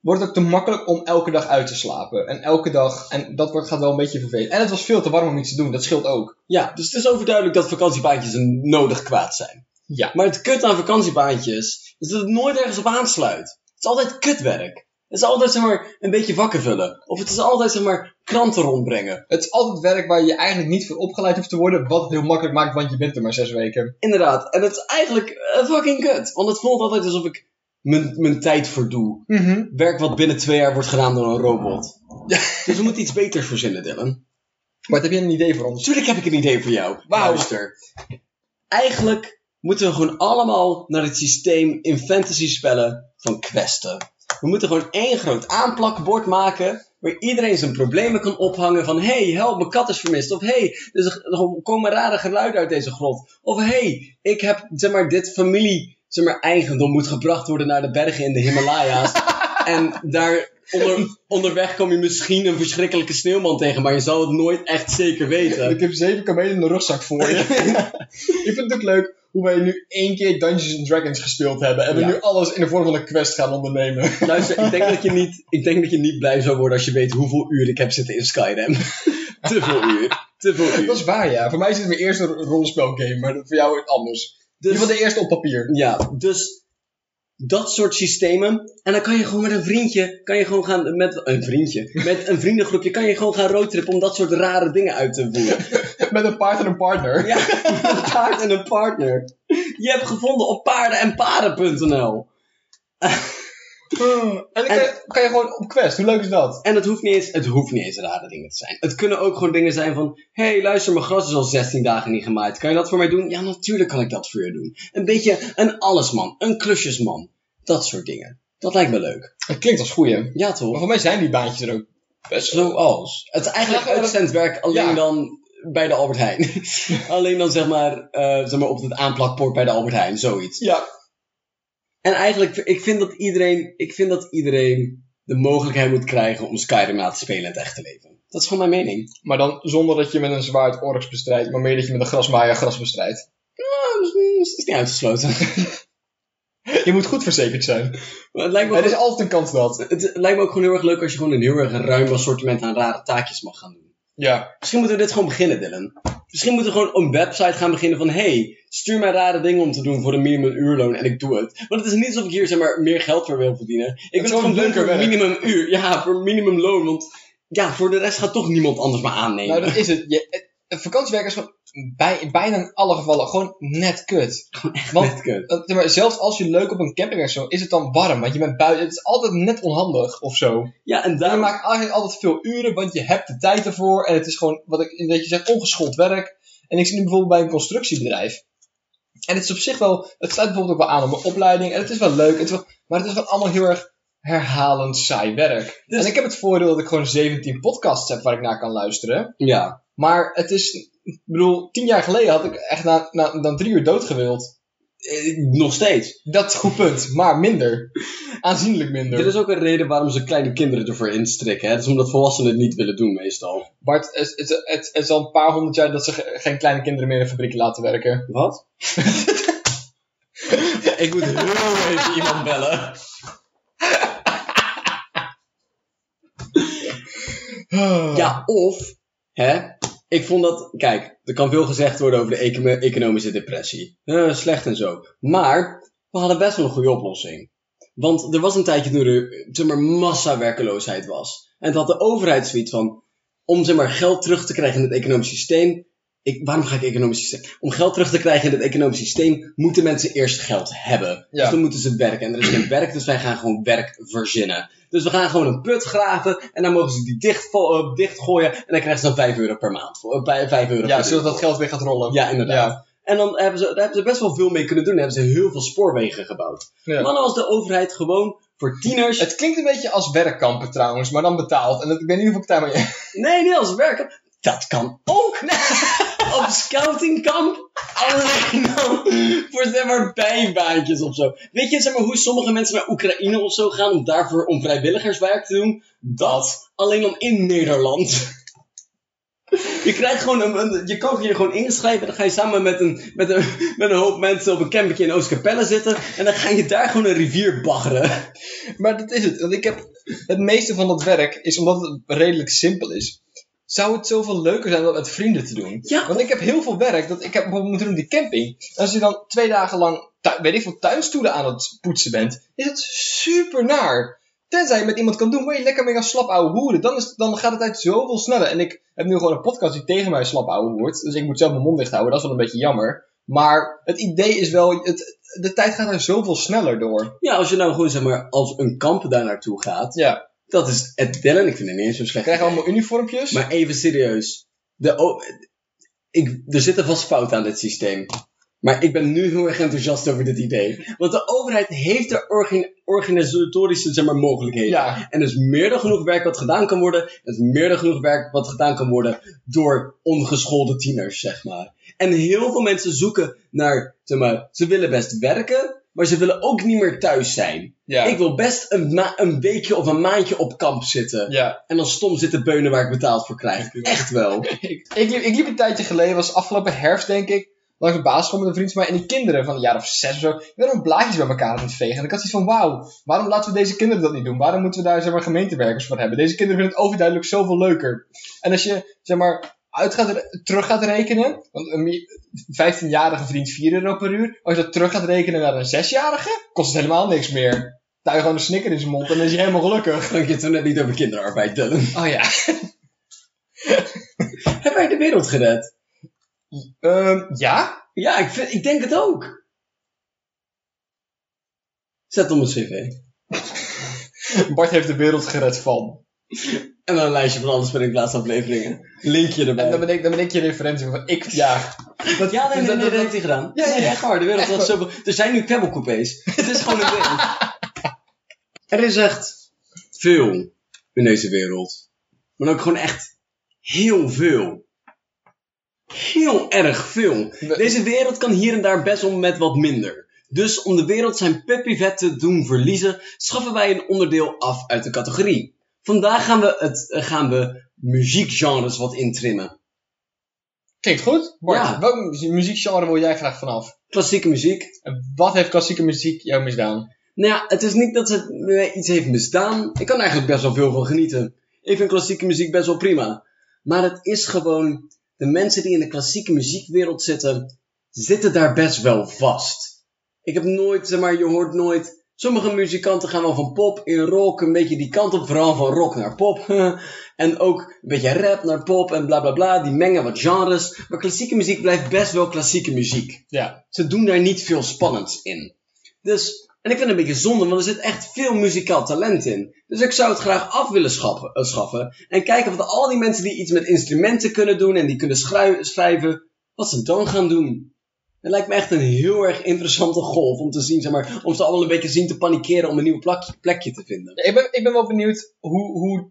[SPEAKER 2] wordt het ook te makkelijk om elke dag uit te slapen. En elke dag, en dat wordt, gaat wel een beetje vervelend. En het was veel te warm om iets te doen, dat scheelt ook.
[SPEAKER 1] Ja, dus het is overduidelijk dat vakantiebaantjes een nodig kwaad zijn.
[SPEAKER 2] Ja.
[SPEAKER 1] Maar het kut aan vakantiebaantjes is dat het nooit ergens op aansluit. Het is altijd kutwerk. Het is altijd zeg maar een beetje vakken vullen. Of het is altijd zeg maar kranten rondbrengen.
[SPEAKER 2] Het is altijd werk waar je eigenlijk niet voor opgeleid hoeft te worden, wat het heel makkelijk maakt, want je bent er maar zes weken.
[SPEAKER 1] Inderdaad. En het is eigenlijk eh, fucking kut. Want het voelt altijd alsof ik mijn, mijn tijd verdoe. Werk wat binnen twee jaar wordt gedaan door een robot. Dus we moeten iets beters verzinnen, Dylan.
[SPEAKER 2] Maar heb je een idee voor ons?
[SPEAKER 1] Natuurlijk heb ik een idee voor jou.
[SPEAKER 2] Wauw.
[SPEAKER 1] Luister. Eigenlijk moeten we gewoon allemaal naar het systeem in fantasy spellen van questen. We moeten gewoon één groot aanplakbord maken. Waar iedereen zijn problemen kan ophangen. Van hey, help, mijn kat is vermist. Of hey, er is- er komen rare geluiden uit deze grot. Of hey, ik heb zeg maar, dit familie zeg maar, eigendom moet gebracht worden naar de bergen in de Himalaya's. en daar onder, onderweg kom je misschien een verschrikkelijke sneeuwman tegen. Maar je zal het nooit echt zeker weten.
[SPEAKER 2] Ik heb zeven kamelen in de rugzak voor je. ik vind het ook leuk hoe wij nu één keer Dungeons and Dragons gespeeld hebben. En we
[SPEAKER 1] Ja.
[SPEAKER 2] nu alles in de vorm van een quest gaan ondernemen.
[SPEAKER 1] Luister, ik denk, dat je niet, ik denk dat je niet blij zou worden als je weet hoeveel uur ik heb zitten in Skyrim. te veel uur. Te veel uur.
[SPEAKER 2] dat is waar, ja. Voor mij is het mijn eerste ro- rollenspelgame, maar voor jou is het anders.
[SPEAKER 1] Dus-
[SPEAKER 2] Je was de eerste op papier.
[SPEAKER 1] Ja, dus dat soort systemen. En dan kan je gewoon met een vriendje, kan je gewoon gaan, met een vriendje, met een vriendengroepje, kan je gewoon gaan roadtrippen om dat soort rare dingen uit te voeren.
[SPEAKER 2] Met een paard en een partner.
[SPEAKER 1] Ja, een paard en een partner. Je hebt gevonden op paardenenparen.nl.
[SPEAKER 2] En dan kan je, kan je gewoon op quest. Hoe leuk is dat?
[SPEAKER 1] En het hoeft niet eens, het hoeft niet eens rare dingen te zijn. Het kunnen ook gewoon dingen zijn van, hé hey, luister, mijn gras is al 16 dagen niet gemaaid. Kan je dat voor mij doen? Ja, natuurlijk kan ik dat voor je doen. Een beetje een allesman, een klusjesman. Dat soort dingen. Dat lijkt me leuk.
[SPEAKER 2] Dat klinkt als goeie.
[SPEAKER 1] Ja,
[SPEAKER 2] Maar
[SPEAKER 1] toch?
[SPEAKER 2] voor mij zijn die baantjes er ook best wel.
[SPEAKER 1] Zoals. Het is eigenlijk
[SPEAKER 2] Ja, maar-
[SPEAKER 1] uitzendwerk alleen
[SPEAKER 2] Ja.
[SPEAKER 1] dan bij de Albert Heijn. alleen dan zeg maar, eh, zeg maar op het aanplakpoort bij de Albert Heijn, zoiets.
[SPEAKER 2] Ja.
[SPEAKER 1] En eigenlijk, ik vind dat iedereen, ik vind dat iedereen de mogelijkheid moet krijgen om Skyrim na te spelen in het echte leven. Dat is gewoon mijn mening.
[SPEAKER 2] Maar dan zonder dat je met een zwaard orks bestrijdt, maar meer dat je met een grasmaaier gras bestrijdt.
[SPEAKER 1] Nou, dat is- dat is niet uitgesloten.
[SPEAKER 2] Je moet goed verzekerd zijn.
[SPEAKER 1] Maar het, lijkt me
[SPEAKER 2] Er is
[SPEAKER 1] ook,
[SPEAKER 2] altijd een kans dat.
[SPEAKER 1] het lijkt me ook gewoon heel erg leuk als je gewoon een heel erg ruim assortiment aan rare taakjes mag gaan doen.
[SPEAKER 2] Ja.
[SPEAKER 1] Misschien moeten we dit gewoon beginnen, Dylan. Misschien moeten we gewoon een website gaan beginnen van... hey, stuur mij rare dingen om te doen voor een minimum uurloon en ik doe het. Want het is niet alsof ik hier zeg maar, meer geld voor wil verdienen. Ik wil het
[SPEAKER 2] gewoon
[SPEAKER 1] gewoon doen
[SPEAKER 2] leuker
[SPEAKER 1] voor
[SPEAKER 2] werk.
[SPEAKER 1] minimum uur. Ja, voor minimum loon. Want ja, voor de rest gaat toch niemand anders maar aannemen.
[SPEAKER 2] Nou, dat is het. Je, het- vakantiewerken is gewoon bij, bijna in alle gevallen gewoon net kut. Want
[SPEAKER 1] Net kut.
[SPEAKER 2] eh, zeg maar, zelfs als je leuk op een camping is, zo, is het dan warm. Want je bent buiten. Het is altijd net onhandig of zo.
[SPEAKER 1] Ja, en
[SPEAKER 2] En je
[SPEAKER 1] daarom...
[SPEAKER 2] maakt eigenlijk altijd veel uren, want je hebt de tijd ervoor. En het is gewoon, wat ik dat je zegt, ongeschoold werk. En ik zit nu bijvoorbeeld bij een constructiebedrijf. En het is op zich wel, het sluit bijvoorbeeld ook wel aan op mijn opleiding. En het is wel leuk, het is wel, maar het is wel allemaal heel erg herhalend saai werk.
[SPEAKER 1] Dus-
[SPEAKER 2] En ik heb het voordeel dat ik gewoon 17 podcasts heb waar ik naar kan luisteren.
[SPEAKER 1] Ja.
[SPEAKER 2] Maar het is, ik bedoel, 10 jaar geleden had ik echt na, na, dan drie uur dood gewild.
[SPEAKER 1] Eh, Nog steeds.
[SPEAKER 2] Dat is een goed punt, maar minder. Aanzienlijk minder.
[SPEAKER 1] Er is ook een reden waarom ze kleine kinderen ervoor instrikken. Hè? Dat is omdat volwassenen het niet willen doen meestal.
[SPEAKER 2] Bart, het, het, het, het is al een paar honderd jaar dat ze ge- geen kleine kinderen meer in fabrieken laten werken.
[SPEAKER 1] Wat?
[SPEAKER 2] Ik moet
[SPEAKER 1] Heel even iemand bellen.
[SPEAKER 2] Ja.
[SPEAKER 1] Ja, of, hè, ik vond dat, kijk, er kan veel gezegd worden over de econo- economische depressie. Eh, slecht en zo. Maar, we hadden best wel een goede oplossing. Want er was een tijdje toen er, zeg maar, massa werkeloosheid was. En dat had de overheid zoiets van, om zeg maar geld terug te krijgen in het economisch systeem. Ik, waarom ga ik economisch systeem? Om geld terug te krijgen in het economisch systeem, moeten mensen eerst geld hebben.
[SPEAKER 2] Ja.
[SPEAKER 1] Dus dan moeten ze werken. En er is geen werk, dus wij gaan gewoon werk verzinnen. Dus we gaan gewoon een put graven en dan mogen ze die dicht, vo- eh, dichtgooien. En dan krijgen ze dan 5 euro per maand. voor- eh, bij- 5 euro
[SPEAKER 2] ja,
[SPEAKER 1] per
[SPEAKER 2] zodat
[SPEAKER 1] uur.
[SPEAKER 2] dat geld weer gaat rollen.
[SPEAKER 1] Ja, inderdaad. En dan hebben ze, daar hebben ze best wel veel mee kunnen doen. Daar hebben ze heel veel spoorwegen gebouwd.
[SPEAKER 2] Ja.
[SPEAKER 1] Maar dan was de overheid gewoon voor tieners
[SPEAKER 2] Het klinkt een beetje als werkkampen trouwens, maar dan betaald. En dat, ik weet niet of ik daar mee...
[SPEAKER 1] Nee, niet als werken. Dat kan ook. Nee. Op scoutingkamp. Alleen dan voor zeg maar bijbaantjes of zo. Weet je zeg maar, hoe sommige mensen naar Oekraïne of zo gaan om daarvoor om vrijwilligerswerk te doen? Dat alleen dan in Nederland. Je, krijgt gewoon een, een- je kan je gewoon inschrijven. Dan ga je samen met een, met een, met een hoop mensen op een campingje in Oostkapelle zitten. En dan ga je daar gewoon een rivier baggeren.
[SPEAKER 2] Maar dat is het. Want ik heb het meeste van dat werk is omdat het redelijk simpel is. Zou het zoveel leuker zijn om dat met vrienden te doen?
[SPEAKER 1] Ja.
[SPEAKER 2] Want ik heb heel veel werk. Dat ik heb bijvoorbeeld moeten doen die camping. En als je dan twee dagen lang, tu- weet ik veel, tuinstoelen aan het poetsen bent, is dat super naar. Tenzij je met iemand kan doen waar je lekker mee kan slap ouwe hoeren. Dan, is, dan gaat de tijd zoveel sneller. En ik heb nu gewoon een podcast die tegen mij slap ouwe hoort. Dus ik moet zelf mijn mond dicht houden. Dat is wel een beetje jammer. Maar het idee is wel, het, de tijd gaat er zoveel sneller door.
[SPEAKER 1] Ja, als je nou gewoon zeg maar als een kamp daar naartoe gaat.
[SPEAKER 2] Ja.
[SPEAKER 1] Dat is het tellen. Ik vind het niet eens zo slecht.
[SPEAKER 2] krijgen allemaal uniformpjes.
[SPEAKER 1] Maar even serieus. De o- ik, er zitten vast fouten aan dit systeem. Maar ik ben nu heel erg enthousiast over dit idee. Want de overheid heeft de orga- organisatorische zeg maar, mogelijkheden.
[SPEAKER 2] ja,
[SPEAKER 1] En er is meer dan genoeg werk wat gedaan kan worden. Er is meer dan genoeg werk wat gedaan kan worden door ongeschoolde tieners, zeg maar. En heel veel mensen zoeken naar, zeg maar, ze willen best werken, maar ze willen ook niet meer thuis zijn.
[SPEAKER 2] ja,
[SPEAKER 1] Ik wil best een, ma- een weekje of een maandje op kamp zitten.
[SPEAKER 2] ja.
[SPEAKER 1] En dan stom zitten beunen waar ik betaald voor krijg. Echt wel.
[SPEAKER 2] Ik, ik, liep, ik liep een tijdje geleden, was afgelopen herfst denk ik, langs de basisschool met een vriend van mij. En die kinderen van een jaar of zes of zo, die waren blaadjes bij elkaar aan het vegen. En ik had zoiets van, wauw, waarom laten we deze kinderen dat niet doen? Waarom moeten we daar zeg maar, gemeentewerkers voor hebben? Deze kinderen vinden het overduidelijk zoveel leuker. En als je, zeg maar, uit gaat, re- terug gaat rekenen, want een mi- 15-jarige verdient 4 euro per uur. Als je dat terug gaat rekenen naar een 6-jarige, kost het helemaal niks meer. Daar je gewoon een snicker in zijn mond en dan is je helemaal gelukkig.
[SPEAKER 1] Dank je toen net niet over kinderarbeid, Dylan.
[SPEAKER 2] Oh ja.
[SPEAKER 1] Heb wij de wereld gered?
[SPEAKER 2] Ehm, ja?
[SPEAKER 1] Ja, ik, vind- ik denk het ook. Zet op een cv.
[SPEAKER 2] Bart heeft de wereld gered van.
[SPEAKER 1] En dan een lijstje van alles met in plaats afleveringen. Linkje
[SPEAKER 2] En
[SPEAKER 1] erbij.
[SPEAKER 2] dan ben ik, dan ben ik je referentie van ik, ja. Dat,
[SPEAKER 1] Ja, nee, nee,
[SPEAKER 2] dat-
[SPEAKER 1] nee, dat
[SPEAKER 2] dat-
[SPEAKER 1] heeft hij gedaan.
[SPEAKER 2] Ja, ja,
[SPEAKER 1] Nee,
[SPEAKER 2] ja.
[SPEAKER 1] echt waar. De wereld was zo... Er zijn nu kwebbelcoupés. Het is gewoon een wereld. Er is echt veel in deze wereld. Maar ook gewoon echt heel veel. Heel erg veel.
[SPEAKER 2] We-
[SPEAKER 1] Deze wereld kan hier en daar best wel met wat minder. Dus om de wereld zijn puppyvet te doen verliezen, schaffen wij een onderdeel af uit de categorie. Vandaag gaan we, het, eh, gaan we muziekgenres wat intrimmen.
[SPEAKER 2] Klinkt goed. Bart,
[SPEAKER 1] Ja.
[SPEAKER 2] welk mu- muziekgenre wil jij graag vanaf?
[SPEAKER 1] Klassieke muziek,
[SPEAKER 2] En wat heeft klassieke muziek jou misdaan?
[SPEAKER 1] Nou ja, het is niet dat ze me iets heeft misdaan. Ik kan er eigenlijk best wel veel van genieten. Ik vind klassieke muziek best wel prima. Maar het is gewoon, de mensen die in de klassieke muziekwereld zitten, zitten daar best wel vast. Ik heb nooit, zeg maar, je hoort nooit Sommige muzikanten gaan wel van pop in rock een beetje die kant op, vooral van rock naar pop. en ook een beetje rap naar pop en bla bla bla, die mengen wat genres. Maar klassieke muziek blijft best wel klassieke muziek.
[SPEAKER 2] Ja.
[SPEAKER 1] Ze doen daar niet veel spannends in. Dus, en ik vind het een beetje zonde, want er zit echt veel muzikaal talent in. Dus ik zou het graag af willen schaffen, eh, schaffen en kijken wat al die mensen die iets met instrumenten kunnen doen en die kunnen schrui- schrijven, wat ze dan gaan doen. Het lijkt me echt een heel erg interessante golf om te zien, zeg maar, om ze allemaal een beetje zien te panikeren om een nieuw plakje, plekje te vinden.
[SPEAKER 2] Ik ben, ik ben wel benieuwd hoe, hoe,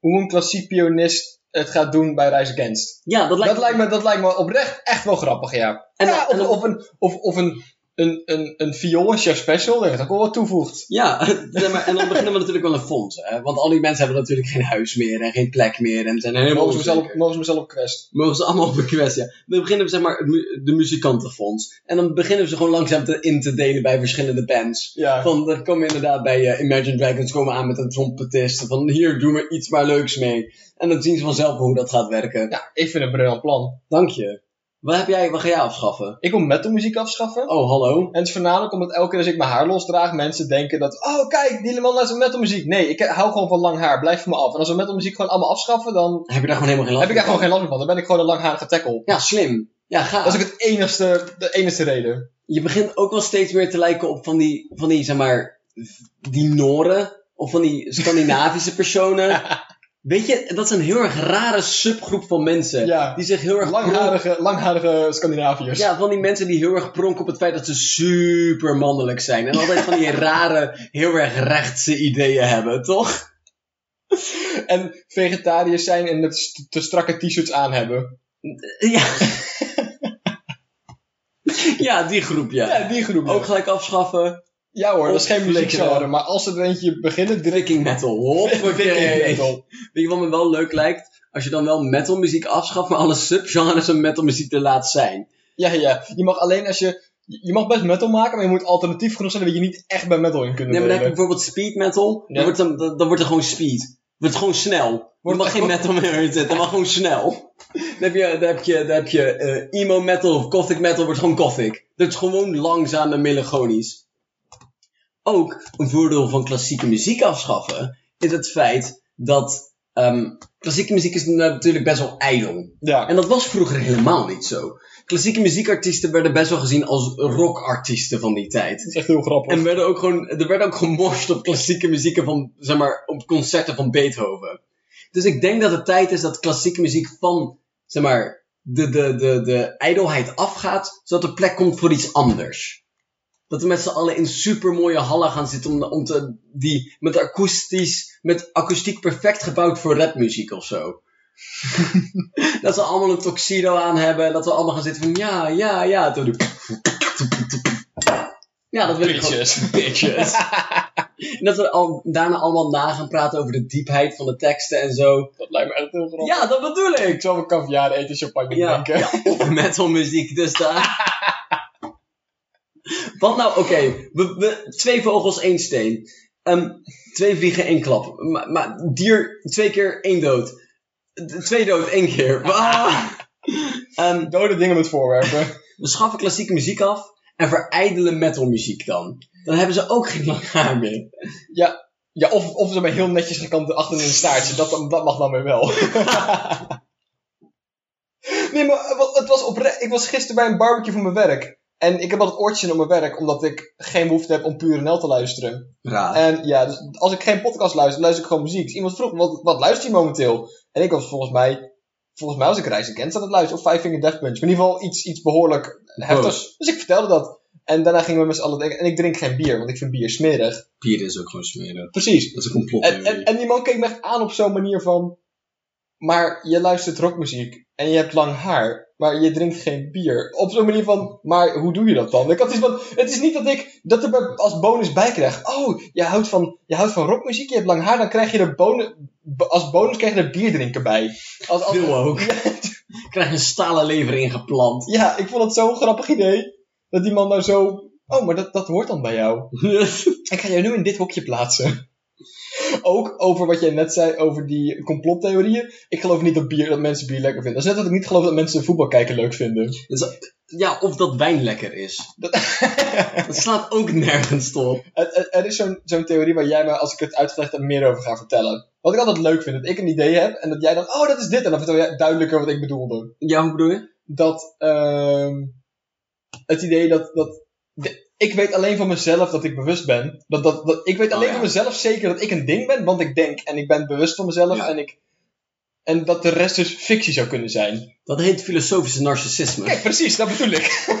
[SPEAKER 2] hoe een klassiek pianist het gaat doen bij Rise Against.
[SPEAKER 1] Ja, dat lijkt,
[SPEAKER 2] Dat lijkt me, dat lijkt me oprecht echt wel grappig, ja.
[SPEAKER 1] En
[SPEAKER 2] ja
[SPEAKER 1] dan- en
[SPEAKER 2] of,
[SPEAKER 1] dan-
[SPEAKER 2] of een, of, of een, een, een, een viool, een chef special, dat ook wel wat toevoegt.
[SPEAKER 1] Ja, zeg maar, en dan beginnen we natuurlijk wel een fonds, hè? want al die mensen hebben natuurlijk geen huis meer en geen plek meer en zijn helemaal
[SPEAKER 2] Mogen ze
[SPEAKER 1] onzeker.
[SPEAKER 2] mezelf, mogen ze mezelf op quest.
[SPEAKER 1] Mogen ze allemaal op een quest, ja. Dan beginnen we zeg maar het mu- de muzikantenfonds en dan beginnen we ze gewoon langzaam te, in te delen bij verschillende bands.
[SPEAKER 2] Ja.
[SPEAKER 1] Van, dan komen we inderdaad bij eh, Imagine Dragons komen aan met een trompetist. Van hier, doe maar iets maar leuks mee. En dan zien ze vanzelf hoe dat gaat werken.
[SPEAKER 2] ja, ik vind het een briljant plan.
[SPEAKER 1] Dank je. Wat, heb jij, wat ga jij afschaffen?
[SPEAKER 2] Ik wil metalmuziek afschaffen.
[SPEAKER 1] Oh, hallo.
[SPEAKER 2] En het is voornamelijk omdat elke keer als ik mijn haar losdraag, mensen denken dat, oh kijk, die man luistert metalmuziek. Nee, ik hou gewoon van lang haar, blijf van me af. En als we metalmuziek gewoon allemaal afschaffen, dan
[SPEAKER 1] Heb je daar gewoon helemaal geen last
[SPEAKER 2] heb ik daar gewoon geen last meer van. Dan ben ik gewoon een langharige tackle.
[SPEAKER 1] Ja, slim. Ja, ga.
[SPEAKER 2] Dat is ook het enigste, de enigste reden.
[SPEAKER 1] Je begint ook wel steeds meer te lijken op van die, van die zeg maar, die Noren. Of van die Scandinavische personen. Weet je, dat is een heel erg rare subgroep van mensen.
[SPEAKER 2] Ja.
[SPEAKER 1] Die zich heel erg...
[SPEAKER 2] Langharige, langharige Scandinaviërs.
[SPEAKER 1] Ja, van die mensen die heel erg pronken op het feit dat ze super mannelijk zijn. En altijd van die rare, heel erg rechtse ideeën hebben, toch?
[SPEAKER 2] En vegetariërs zijn en het st- te strakke t-shirts aan hebben.
[SPEAKER 1] Ja. ja, die groep, ja.
[SPEAKER 2] Ja, die groep.
[SPEAKER 1] Ook gelijk afschaffen.
[SPEAKER 2] Ja hoor, dat is geen
[SPEAKER 1] Opflikkeren.
[SPEAKER 2] muziekgenre. Maar als ze er eentje beginnen, druk
[SPEAKER 1] Viking metal. Hoppakee.
[SPEAKER 2] ik op.
[SPEAKER 1] Weet je wat me wel leuk lijkt? Als je dan wel metalmuziek afschaft, maar alle subgenres van metalmuziek er laat zijn.
[SPEAKER 2] Ja, ja. Je mag alleen als je... Je mag best metal maken, maar je moet alternatief genoeg zijn dat we je niet echt bij metal in kunnen
[SPEAKER 1] Nee, maar dan heb je
[SPEAKER 2] delen.
[SPEAKER 1] bijvoorbeeld speed metal.
[SPEAKER 2] Ja.
[SPEAKER 1] Dan, wordt dan, dan dan wordt er gewoon speed. Wordt gewoon snel. Er
[SPEAKER 2] Wordt-
[SPEAKER 1] mag geen metal meer in zitten, maar gewoon snel. Dan heb je, dan heb je, dan heb je eh, emo metal of gothic metal, wordt gewoon gothic. Dat is gewoon langzaam en melancholisch. Ook een voordeel van klassieke muziek afschaffen is het feit dat ehm, klassieke muziek is natuurlijk best wel ijdel.
[SPEAKER 2] Ja.
[SPEAKER 1] En dat was vroeger helemaal niet zo. Klassieke muziekartiesten werden best wel gezien als rockartiesten van die tijd.
[SPEAKER 2] is echt heel grappig.
[SPEAKER 1] En werden ook gewoon, er werd ook gemorst op klassieke muzieken van, zeg maar, op concerten van Beethoven. Dus ik denk dat het tijd is dat klassieke muziek van, zeg maar, de, de, de, de ijdelheid afgaat, zodat er plek komt voor iets anders. Dat we met z'n allen in supermooie hallen gaan zitten om, om te, die, met akoestisch, met akoestiek perfect gebouwd voor rapmuziek of zo. dat ze allemaal een tuxedo aan hebben, dat we allemaal gaan zitten van ja, ja, ja. Toen doe- Ja, dat wil ik gewoon bitches. en dat we al, daarna allemaal na gaan praten over de diepheid van de teksten en zo.
[SPEAKER 2] Dat lijkt me echt heel grappig.
[SPEAKER 1] Ja, dat bedoel
[SPEAKER 2] Ik
[SPEAKER 1] ik.
[SPEAKER 2] zou wel caviar eten, champagne
[SPEAKER 1] Ja,
[SPEAKER 2] drinken.
[SPEAKER 1] ja of metalmuziek dus daar. Wat nou, oké. we, we, twee vogels, één steen. Ehm, twee vliegen, één klap. Maar, maar dier, twee keer, één dood. D- Twee dood, één keer. Ah. Ehm,
[SPEAKER 2] Dode dingen met voorwerpen.
[SPEAKER 1] we schaffen klassieke muziek af en verijdelen metalmuziek dan. Dan hebben ze ook geen lang haar meer.
[SPEAKER 2] ja, of, of ze maar heel netjes gekant achter in een staartje. Dat, dat mag dan weer wel. nee, maar eh, wat- het was oprecht. Ik was gisteren bij een barbecue voor mijn werk. En ik heb altijd oortjes in op mijn werk, omdat ik geen behoefte heb om puur NL te luisteren.
[SPEAKER 1] Raar.
[SPEAKER 2] En ja, dus als ik geen podcast luister, luister ik gewoon muziek. Dus iemand vroeg, wat, wat luister je momenteel? En ik was volgens mij, volgens mij was ik Reis Against aan het luisteren. Of Five Finger Death Punch. Maar in ieder geval iets, iets behoorlijk heftigs. Dus ik vertelde dat. En daarna gingen we met z'n allen denken, en ik drink geen bier, want ik vind bier smerig.
[SPEAKER 1] Bier is ook gewoon smeren.
[SPEAKER 2] Precies.
[SPEAKER 1] Dat is een complot.
[SPEAKER 2] En, en, en die man keek me echt aan op zo'n manier van, maar je luistert rockmuziek en je hebt lang haar, maar je drinkt geen bier. Op zo'n manier van, maar hoe doe je dat dan? Ik had iets van, het is niet dat ik dat er bij- als bonus bij krijg. Oh, je houdt van, je houdt van rockmuziek, je hebt lang haar, dan krijg je er bonus, als bonus krijg je er bier drinken bij. Als, als-
[SPEAKER 1] Wil ook. Krijg een stalen lever ingeplant.
[SPEAKER 2] ja, ik vond het zo'n grappig idee, dat die man nou zo, oh, maar dat, dat hoort dan bij jou.
[SPEAKER 1] Dus,
[SPEAKER 2] Ik ga jou nu in dit hokje plaatsen. Ook over wat jij net zei over die complottheorieën. Ik geloof niet dat, bier, dat mensen bier lekker vinden. Dat is net dat ik niet geloof dat mensen voetbal kijken leuk vinden.
[SPEAKER 1] Ja, of dat wijn lekker is. Dat slaat ook nergens op.
[SPEAKER 2] Er, er- er is zo'n zo'n theorie waar jij me, als ik het uitgelegd heb, meer over gaat vertellen. Wat ik altijd leuk vind, dat ik een idee heb en dat jij dan, oh dat is dit. En dan vertel jij duidelijker wat ik bedoelde.
[SPEAKER 1] Ja, hoe bedoel je?
[SPEAKER 2] Dat, ehm, het idee dat, dat de- ik weet alleen van mezelf dat ik bewust ben. Dat, dat, dat, ik weet
[SPEAKER 1] Oh,
[SPEAKER 2] alleen
[SPEAKER 1] ja.
[SPEAKER 2] van mezelf zeker dat ik een ding ben, want ik denk en ik ben bewust van mezelf
[SPEAKER 1] Ja.
[SPEAKER 2] en ik... En dat de rest dus fictie zou kunnen zijn.
[SPEAKER 1] Dat heet filosofische narcissisme.
[SPEAKER 2] Kijk, precies, dat bedoel ik.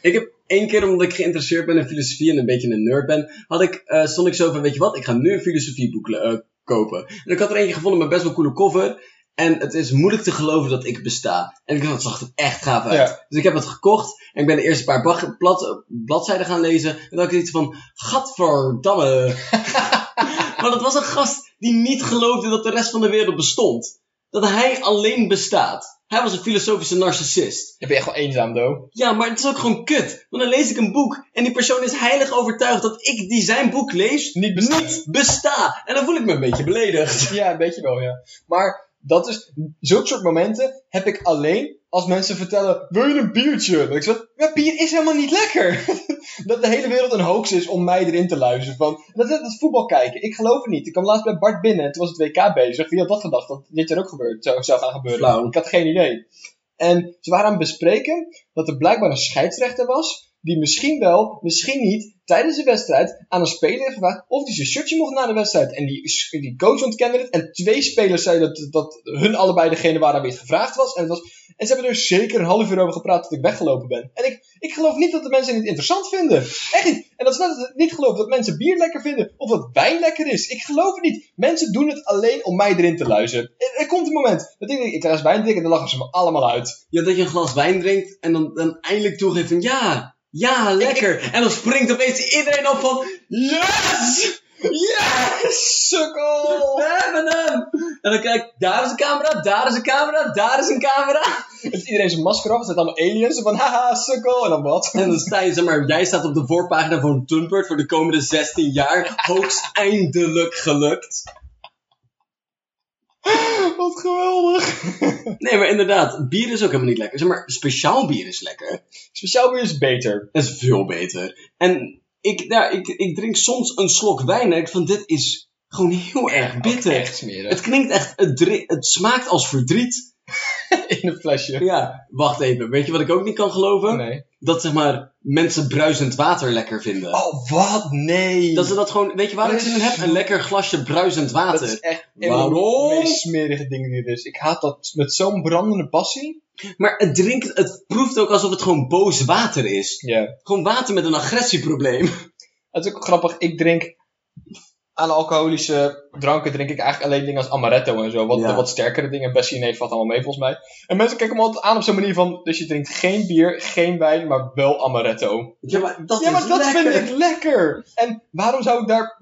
[SPEAKER 1] Ik heb één keer, omdat ik geïnteresseerd ben in filosofie en een beetje een nerd ben, had ik, eh, stond ik zo van, weet je wat, ik ga nu een filosofieboek eh, kopen. En ik had er eentje gevonden met best wel coole cover. En het is moeilijk te geloven dat ik besta. En ik dacht, het zag er echt gaaf uit.
[SPEAKER 2] Ja.
[SPEAKER 1] Dus ik heb het gekocht. En ik ben de eerste paar bag- blad- bladzijden gaan lezen. En dan had ik iets van, gadverdamme. maar dat was een gast die niet geloofde dat de rest van de wereld bestond. Dat hij alleen bestaat. Hij was een filosofische narcissist.
[SPEAKER 2] Dan ben je echt wel eenzaam, doe.
[SPEAKER 1] Ja, maar het is ook gewoon kut. Want dan lees ik een boek en die persoon is heilig overtuigd dat ik die zijn boek lees,
[SPEAKER 2] Niet besta.
[SPEAKER 1] besta. En dan voel ik me een beetje beledigd.
[SPEAKER 2] Ja, een beetje wel, ja. Maar dat is, zulke soort momenten heb ik alleen als mensen vertellen: Wil je een biertje? Dat ik zeg: Ja, bier is helemaal niet lekker. dat de hele wereld een hoax is om mij erin te luisteren. Van, dat is net als voetbal kijken. Ik geloof het niet. Ik kwam laatst bij Bart binnen en toen was het WK bezig. Wie had dat gedacht dat dit jaar ook gebeurd, zou, zou gaan gebeuren?
[SPEAKER 1] Flauw.
[SPEAKER 2] Ik had geen idee. En ze waren aan het bespreken dat er blijkbaar een scheidsrechter was. Die misschien wel, misschien niet, tijdens de wedstrijd aan een speler heeft gevraagd of die zijn shirtje mocht na de wedstrijd. En die, die coach ontkende het. En twee spelers zeiden dat, dat hun allebei degene waren aan wie het gevraagd was. En, het was. en ze hebben er zeker een half uur over gepraat dat ik weggelopen ben. En ik, ik geloof niet dat de mensen het interessant vinden. Echt niet. En dat is net als ik niet geloof dat mensen bier lekker vinden of dat wijn lekker is. Ik geloof het niet. Mensen doen het alleen om mij erin te luisteren. Er, er komt een moment dat ik denk, ik laat eens wijn drinken en dan lachen ze me allemaal uit.
[SPEAKER 1] Ja, dat je een glas wijn drinkt en dan, dan eindelijk toegeeft van ja, ja, lekker. En dan springt opeens iedereen op van yes,
[SPEAKER 2] Yes! Sukkel!
[SPEAKER 1] we hebben hem. En dan kijk ik, daar is een camera, daar is een camera, daar is een camera.
[SPEAKER 2] Het is iedereen zijn masker af, het zijn allemaal aliens. En van haha, sukkel. En dan wat?
[SPEAKER 1] En dan sta je, zeg maar, jij staat op de voorpagina van Dumpert voor de komende 16 jaar. Hoogst eindelijk gelukt.
[SPEAKER 2] Wat geweldig.
[SPEAKER 1] Nee, maar inderdaad, bier is ook helemaal niet lekker. Zeg maar, speciaal bier is lekker.
[SPEAKER 2] Speciaal bier is beter.
[SPEAKER 1] Dat is veel beter. En ik, ja, ik, ik drink soms een slok wijn en ik van dit is gewoon heel erg bitter.
[SPEAKER 2] Echt smeren.
[SPEAKER 1] Het klinkt echt, het, dri- het smaakt als verdriet.
[SPEAKER 2] In een flesje.
[SPEAKER 1] Ja, wacht even. Weet je wat ik ook niet kan geloven?
[SPEAKER 2] Oh, Nee.
[SPEAKER 1] Dat zeg maar mensen bruisend water lekker vinden.
[SPEAKER 2] Oh, wat? Nee.
[SPEAKER 1] Dat ze dat gewoon, weet je waar ik zin in heb? Een lekker glasje bruisend
[SPEAKER 2] Dat
[SPEAKER 1] water.
[SPEAKER 2] is echt
[SPEAKER 1] Waarom?
[SPEAKER 2] een van de meest smerige dingen die er is. Ik haat dat met zo'n brandende passie.
[SPEAKER 1] Maar het drinkt, het proeft ook alsof het gewoon boos water is.
[SPEAKER 2] Ja.
[SPEAKER 1] Gewoon water met een agressieprobleem.
[SPEAKER 2] Het is ook grappig, ik drink aan alcoholische dranken drink ik eigenlijk alleen dingen als amaretto en zo. Wat,
[SPEAKER 1] Ja.
[SPEAKER 2] wat sterkere dingen. Bessie neef valt allemaal mee volgens mij. En mensen kijken me altijd aan op zo'n manier van, dus je drinkt geen bier, geen wijn, maar wel amaretto.
[SPEAKER 1] Ja, maar dat
[SPEAKER 2] ja, maar
[SPEAKER 1] is
[SPEAKER 2] dat
[SPEAKER 1] lekker.
[SPEAKER 2] vind ik lekker. En waarom zou ik daar,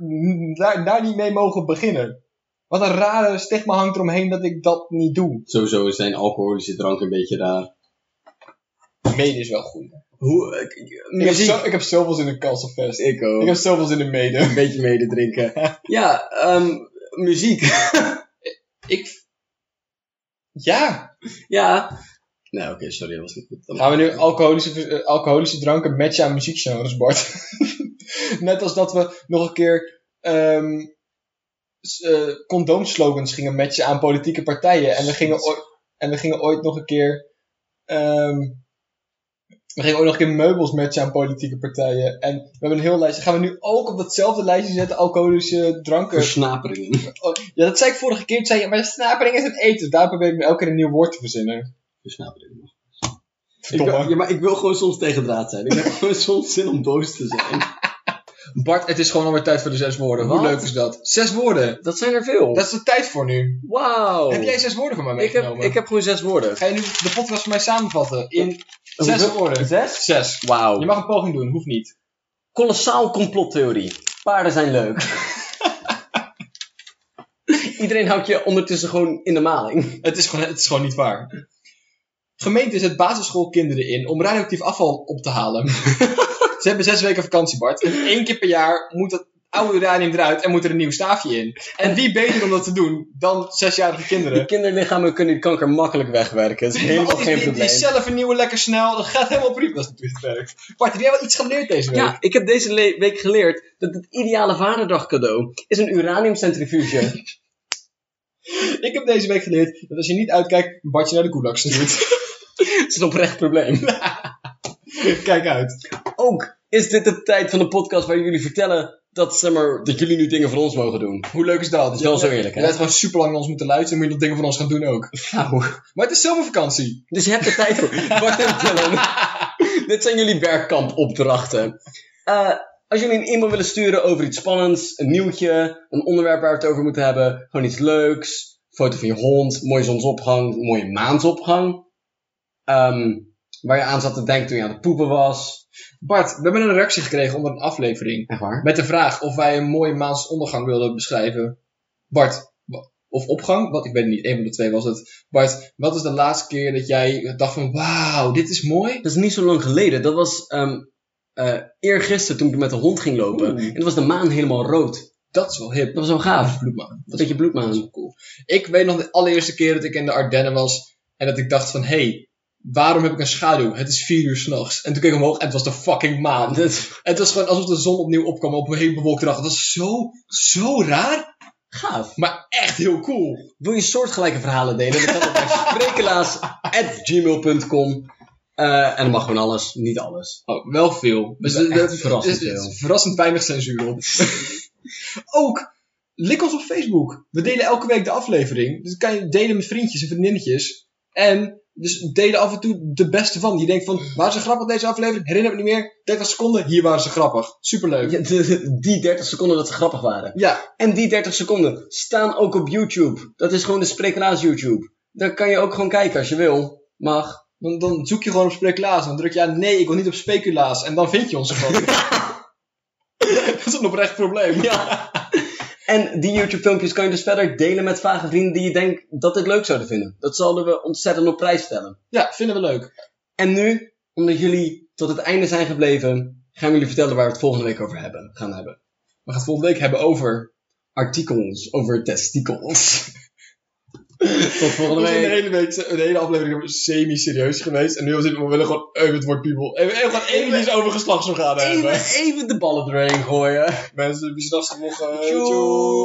[SPEAKER 2] daar, daar niet mee mogen beginnen? Wat een rare stigma hangt eromheen dat ik dat niet doe.
[SPEAKER 1] Sowieso is zijn alcoholische drank een beetje daar.
[SPEAKER 2] Mede is wel goed.
[SPEAKER 1] Hoe, ik- ik-
[SPEAKER 2] Ik heb,
[SPEAKER 1] muziek.
[SPEAKER 2] zo, ik heb zoveel zin in Kanselfest.
[SPEAKER 1] Ik
[SPEAKER 2] Ik
[SPEAKER 1] ook.
[SPEAKER 2] heb zoveel zin in mede.
[SPEAKER 1] Een beetje mede drinken. ja, ehm, muziek.
[SPEAKER 2] Ik... Ja,
[SPEAKER 1] ja. Nee, Nou, oké, sorry, dat was niet goed. Dan-
[SPEAKER 2] Gaan we nu alcoholische, eh, alcoholische dranken matchen aan muziekgenres, Bart? Net als dat we nog een keer ehm, s- eh, condoomslogans gingen matchen aan politieke partijen. En we gingen, ooit- en we gingen ooit nog een keer... ehm, we gingen ooit nog een keer meubels matchen aan politieke partijen. En we hebben een heel lijstje. Gaan we nu ook op datzelfde lijstje zetten alcoholische dranken?
[SPEAKER 1] Versnaperingen.
[SPEAKER 2] Oh, ja, dat zei ik vorige keer. Toen zei je, maar snapering is het eten. Dus Daar probeer ik nu elke keer een nieuw woord te verzinnen.
[SPEAKER 1] Versnaperingen. Ik
[SPEAKER 2] Verdomme.
[SPEAKER 1] wil, ja, maar ik wil gewoon soms tegen draad zijn. Ik heb gewoon soms zin om boos te zijn.
[SPEAKER 2] Bart, het is gewoon alweer tijd voor de zes woorden. Hoe
[SPEAKER 1] Wat?
[SPEAKER 2] leuk is dat? Zes woorden.
[SPEAKER 1] Dat zijn er veel.
[SPEAKER 2] Dat is de tijd voor nu.
[SPEAKER 1] Wauw.
[SPEAKER 2] Heb jij zes woorden van mij
[SPEAKER 1] ik heb,
[SPEAKER 2] meegenomen?
[SPEAKER 1] ik heb gewoon zes woorden.
[SPEAKER 2] Ga je nu de podcast voor mij samenvatten in zes
[SPEAKER 1] Hoeveel?
[SPEAKER 2] woorden?
[SPEAKER 1] Zes?
[SPEAKER 2] Zes.
[SPEAKER 1] Wauw.
[SPEAKER 2] Je mag een poging doen, hoeft niet.
[SPEAKER 1] Kolossaal complottheorie. Paarden zijn leuk. Iedereen houdt je ondertussen gewoon in de maling.
[SPEAKER 2] Het is gewoon, het is gewoon niet waar. Gemeente zet basisschoolkinderen in om radioactief afval op te halen. Ze hebben zes weken vakantie, Bart. En één keer per jaar moet dat oude uranium eruit en moet er een nieuw staafje in. En wie beter om dat te doen dan zesjarige kinderen?
[SPEAKER 1] Die kinderlichamen kunnen die kanker makkelijk wegwerken. Dat is helemaal
[SPEAKER 2] Die-
[SPEAKER 1] geen
[SPEAKER 2] die,
[SPEAKER 1] probleem.
[SPEAKER 2] die cellen vernieuwen lekker snel, dat gaat helemaal prima. Dat is natuurlijk werkt. Bart, heb jij wel iets geleerd deze week?
[SPEAKER 1] Ja, ik heb deze le- week geleerd dat het ideale vaderdag cadeau is een uraniumcentrifuge.
[SPEAKER 2] Ik heb deze week geleerd dat als je niet uitkijkt, Bart je naar de koelak stuurt.
[SPEAKER 1] dat is een oprecht probleem.
[SPEAKER 2] Kijk uit.
[SPEAKER 1] Ook is dit de tijd van de podcast waar jullie vertellen dat, zeg maar, dat jullie nu dingen voor ons mogen doen.
[SPEAKER 2] Hoe leuk is dat?
[SPEAKER 1] is wel zo eerlijk, hè?
[SPEAKER 2] Je hebt gewoon super lang naar ons moeten luisteren en moet je dat dingen van ons gaan doen ook.
[SPEAKER 1] Nou,
[SPEAKER 2] Maar het is zomervakantie.
[SPEAKER 1] dus je hebt er tijd voor. Wacht even, Dylan. dit zijn jullie werkkampopdrachten. Eh, als jullie een e-mail willen sturen over iets spannends, een nieuwtje, een onderwerp waar we het over moeten hebben, gewoon iets leuks, foto van je hond, mooie zonsopgang, mooie maansopgang, ehm, waar je aan zat te denken toen je aan het poepen was.
[SPEAKER 2] Bart, we hebben een reactie gekregen onder een aflevering.
[SPEAKER 1] Echt waar?
[SPEAKER 2] Met de vraag of wij een mooie maansondergang wilden beschrijven. Bart, wa- of opgang, wat ik weet het niet, één van de twee was het. Bart, wat is de laatste keer dat jij dacht van, wauw, dit is mooi?
[SPEAKER 1] Dat is niet zo lang geleden. Dat was ehm eh eergisteren toen ik met de hond ging lopen.
[SPEAKER 2] Oeh.
[SPEAKER 1] En toen was de maan helemaal rood.
[SPEAKER 2] Dat is wel hip.
[SPEAKER 1] Dat was wel gaaf.
[SPEAKER 2] Bloedmaan.
[SPEAKER 1] Dat je bloedmaan.
[SPEAKER 2] Dat is wel cool. Ik weet nog de allereerste keer dat ik in de Ardennen was en dat ik dacht van, hé, hey, waarom heb ik een schaduw? Het is vier uur s'nachts. En toen keek ik omhoog en het was de fucking maan.
[SPEAKER 1] Dat
[SPEAKER 2] Het was gewoon alsof de zon opnieuw opkwam op een hele bewolkte dag. Dat was zo, zo raar,
[SPEAKER 1] gaaf.
[SPEAKER 2] maar echt heel cool.
[SPEAKER 1] Wil je soortgelijke verhalen delen? Dan kan dat bij sprekelaars.gmail.com. Eh, en dan mag gewoon alles, niet alles.
[SPEAKER 2] Oh, wel veel.
[SPEAKER 1] Dus dat- dat-
[SPEAKER 2] verrassend,
[SPEAKER 1] dat- dat-
[SPEAKER 2] veel. verrassend weinig censuur op. Ook, lik ons op Facebook. We delen elke week de aflevering. Dus dat kan je delen met vriendjes en vriendinnetjes. En dus delen af en toe de beste van. Je denkt van, waren ze grappig deze aflevering? Herinner me niet meer. 30 seconden, hier waren ze grappig. Superleuk. Ja.
[SPEAKER 1] Ja, de- die 30 seconden dat ze grappig waren. En die 30 seconden staan ook op YouTube. Dat is gewoon de Sprekelaars YouTube. Daar kan je ook gewoon kijken als je wil. Mag.
[SPEAKER 2] Dan, dan zoek je gewoon op speculaas. Dan druk je aan, nee, ik wil niet op speculaas. En dan vind je ons gewoon. dat is een oprecht probleem.
[SPEAKER 1] Ja. En die YouTube-filmpjes kan je dus verder delen met vage vrienden die je denkt dat dit leuk zouden vinden. Dat zouden we ontzettend op prijs stellen.
[SPEAKER 2] Ja, vinden we leuk.
[SPEAKER 1] En nu, omdat jullie tot het einde zijn gebleven, gaan we jullie vertellen waar we het volgende week over hebben, gaan hebben.
[SPEAKER 2] We gaan het volgende week hebben over...
[SPEAKER 1] Artikels over testikels. tot volgende
[SPEAKER 2] We zijn de
[SPEAKER 1] week.
[SPEAKER 2] hele, week, de hele aflevering semi-serieus geweest. En nu was het, we willen gewoon even het woord people. En we hebben gewoon
[SPEAKER 1] Even-
[SPEAKER 2] eventjes over geslachtsorganen hebben.
[SPEAKER 1] Even, even de ballen doorheen gooien.
[SPEAKER 2] Mensen, wie s'nachts nog... eh,
[SPEAKER 1] Tjoe.
[SPEAKER 2] tjoe.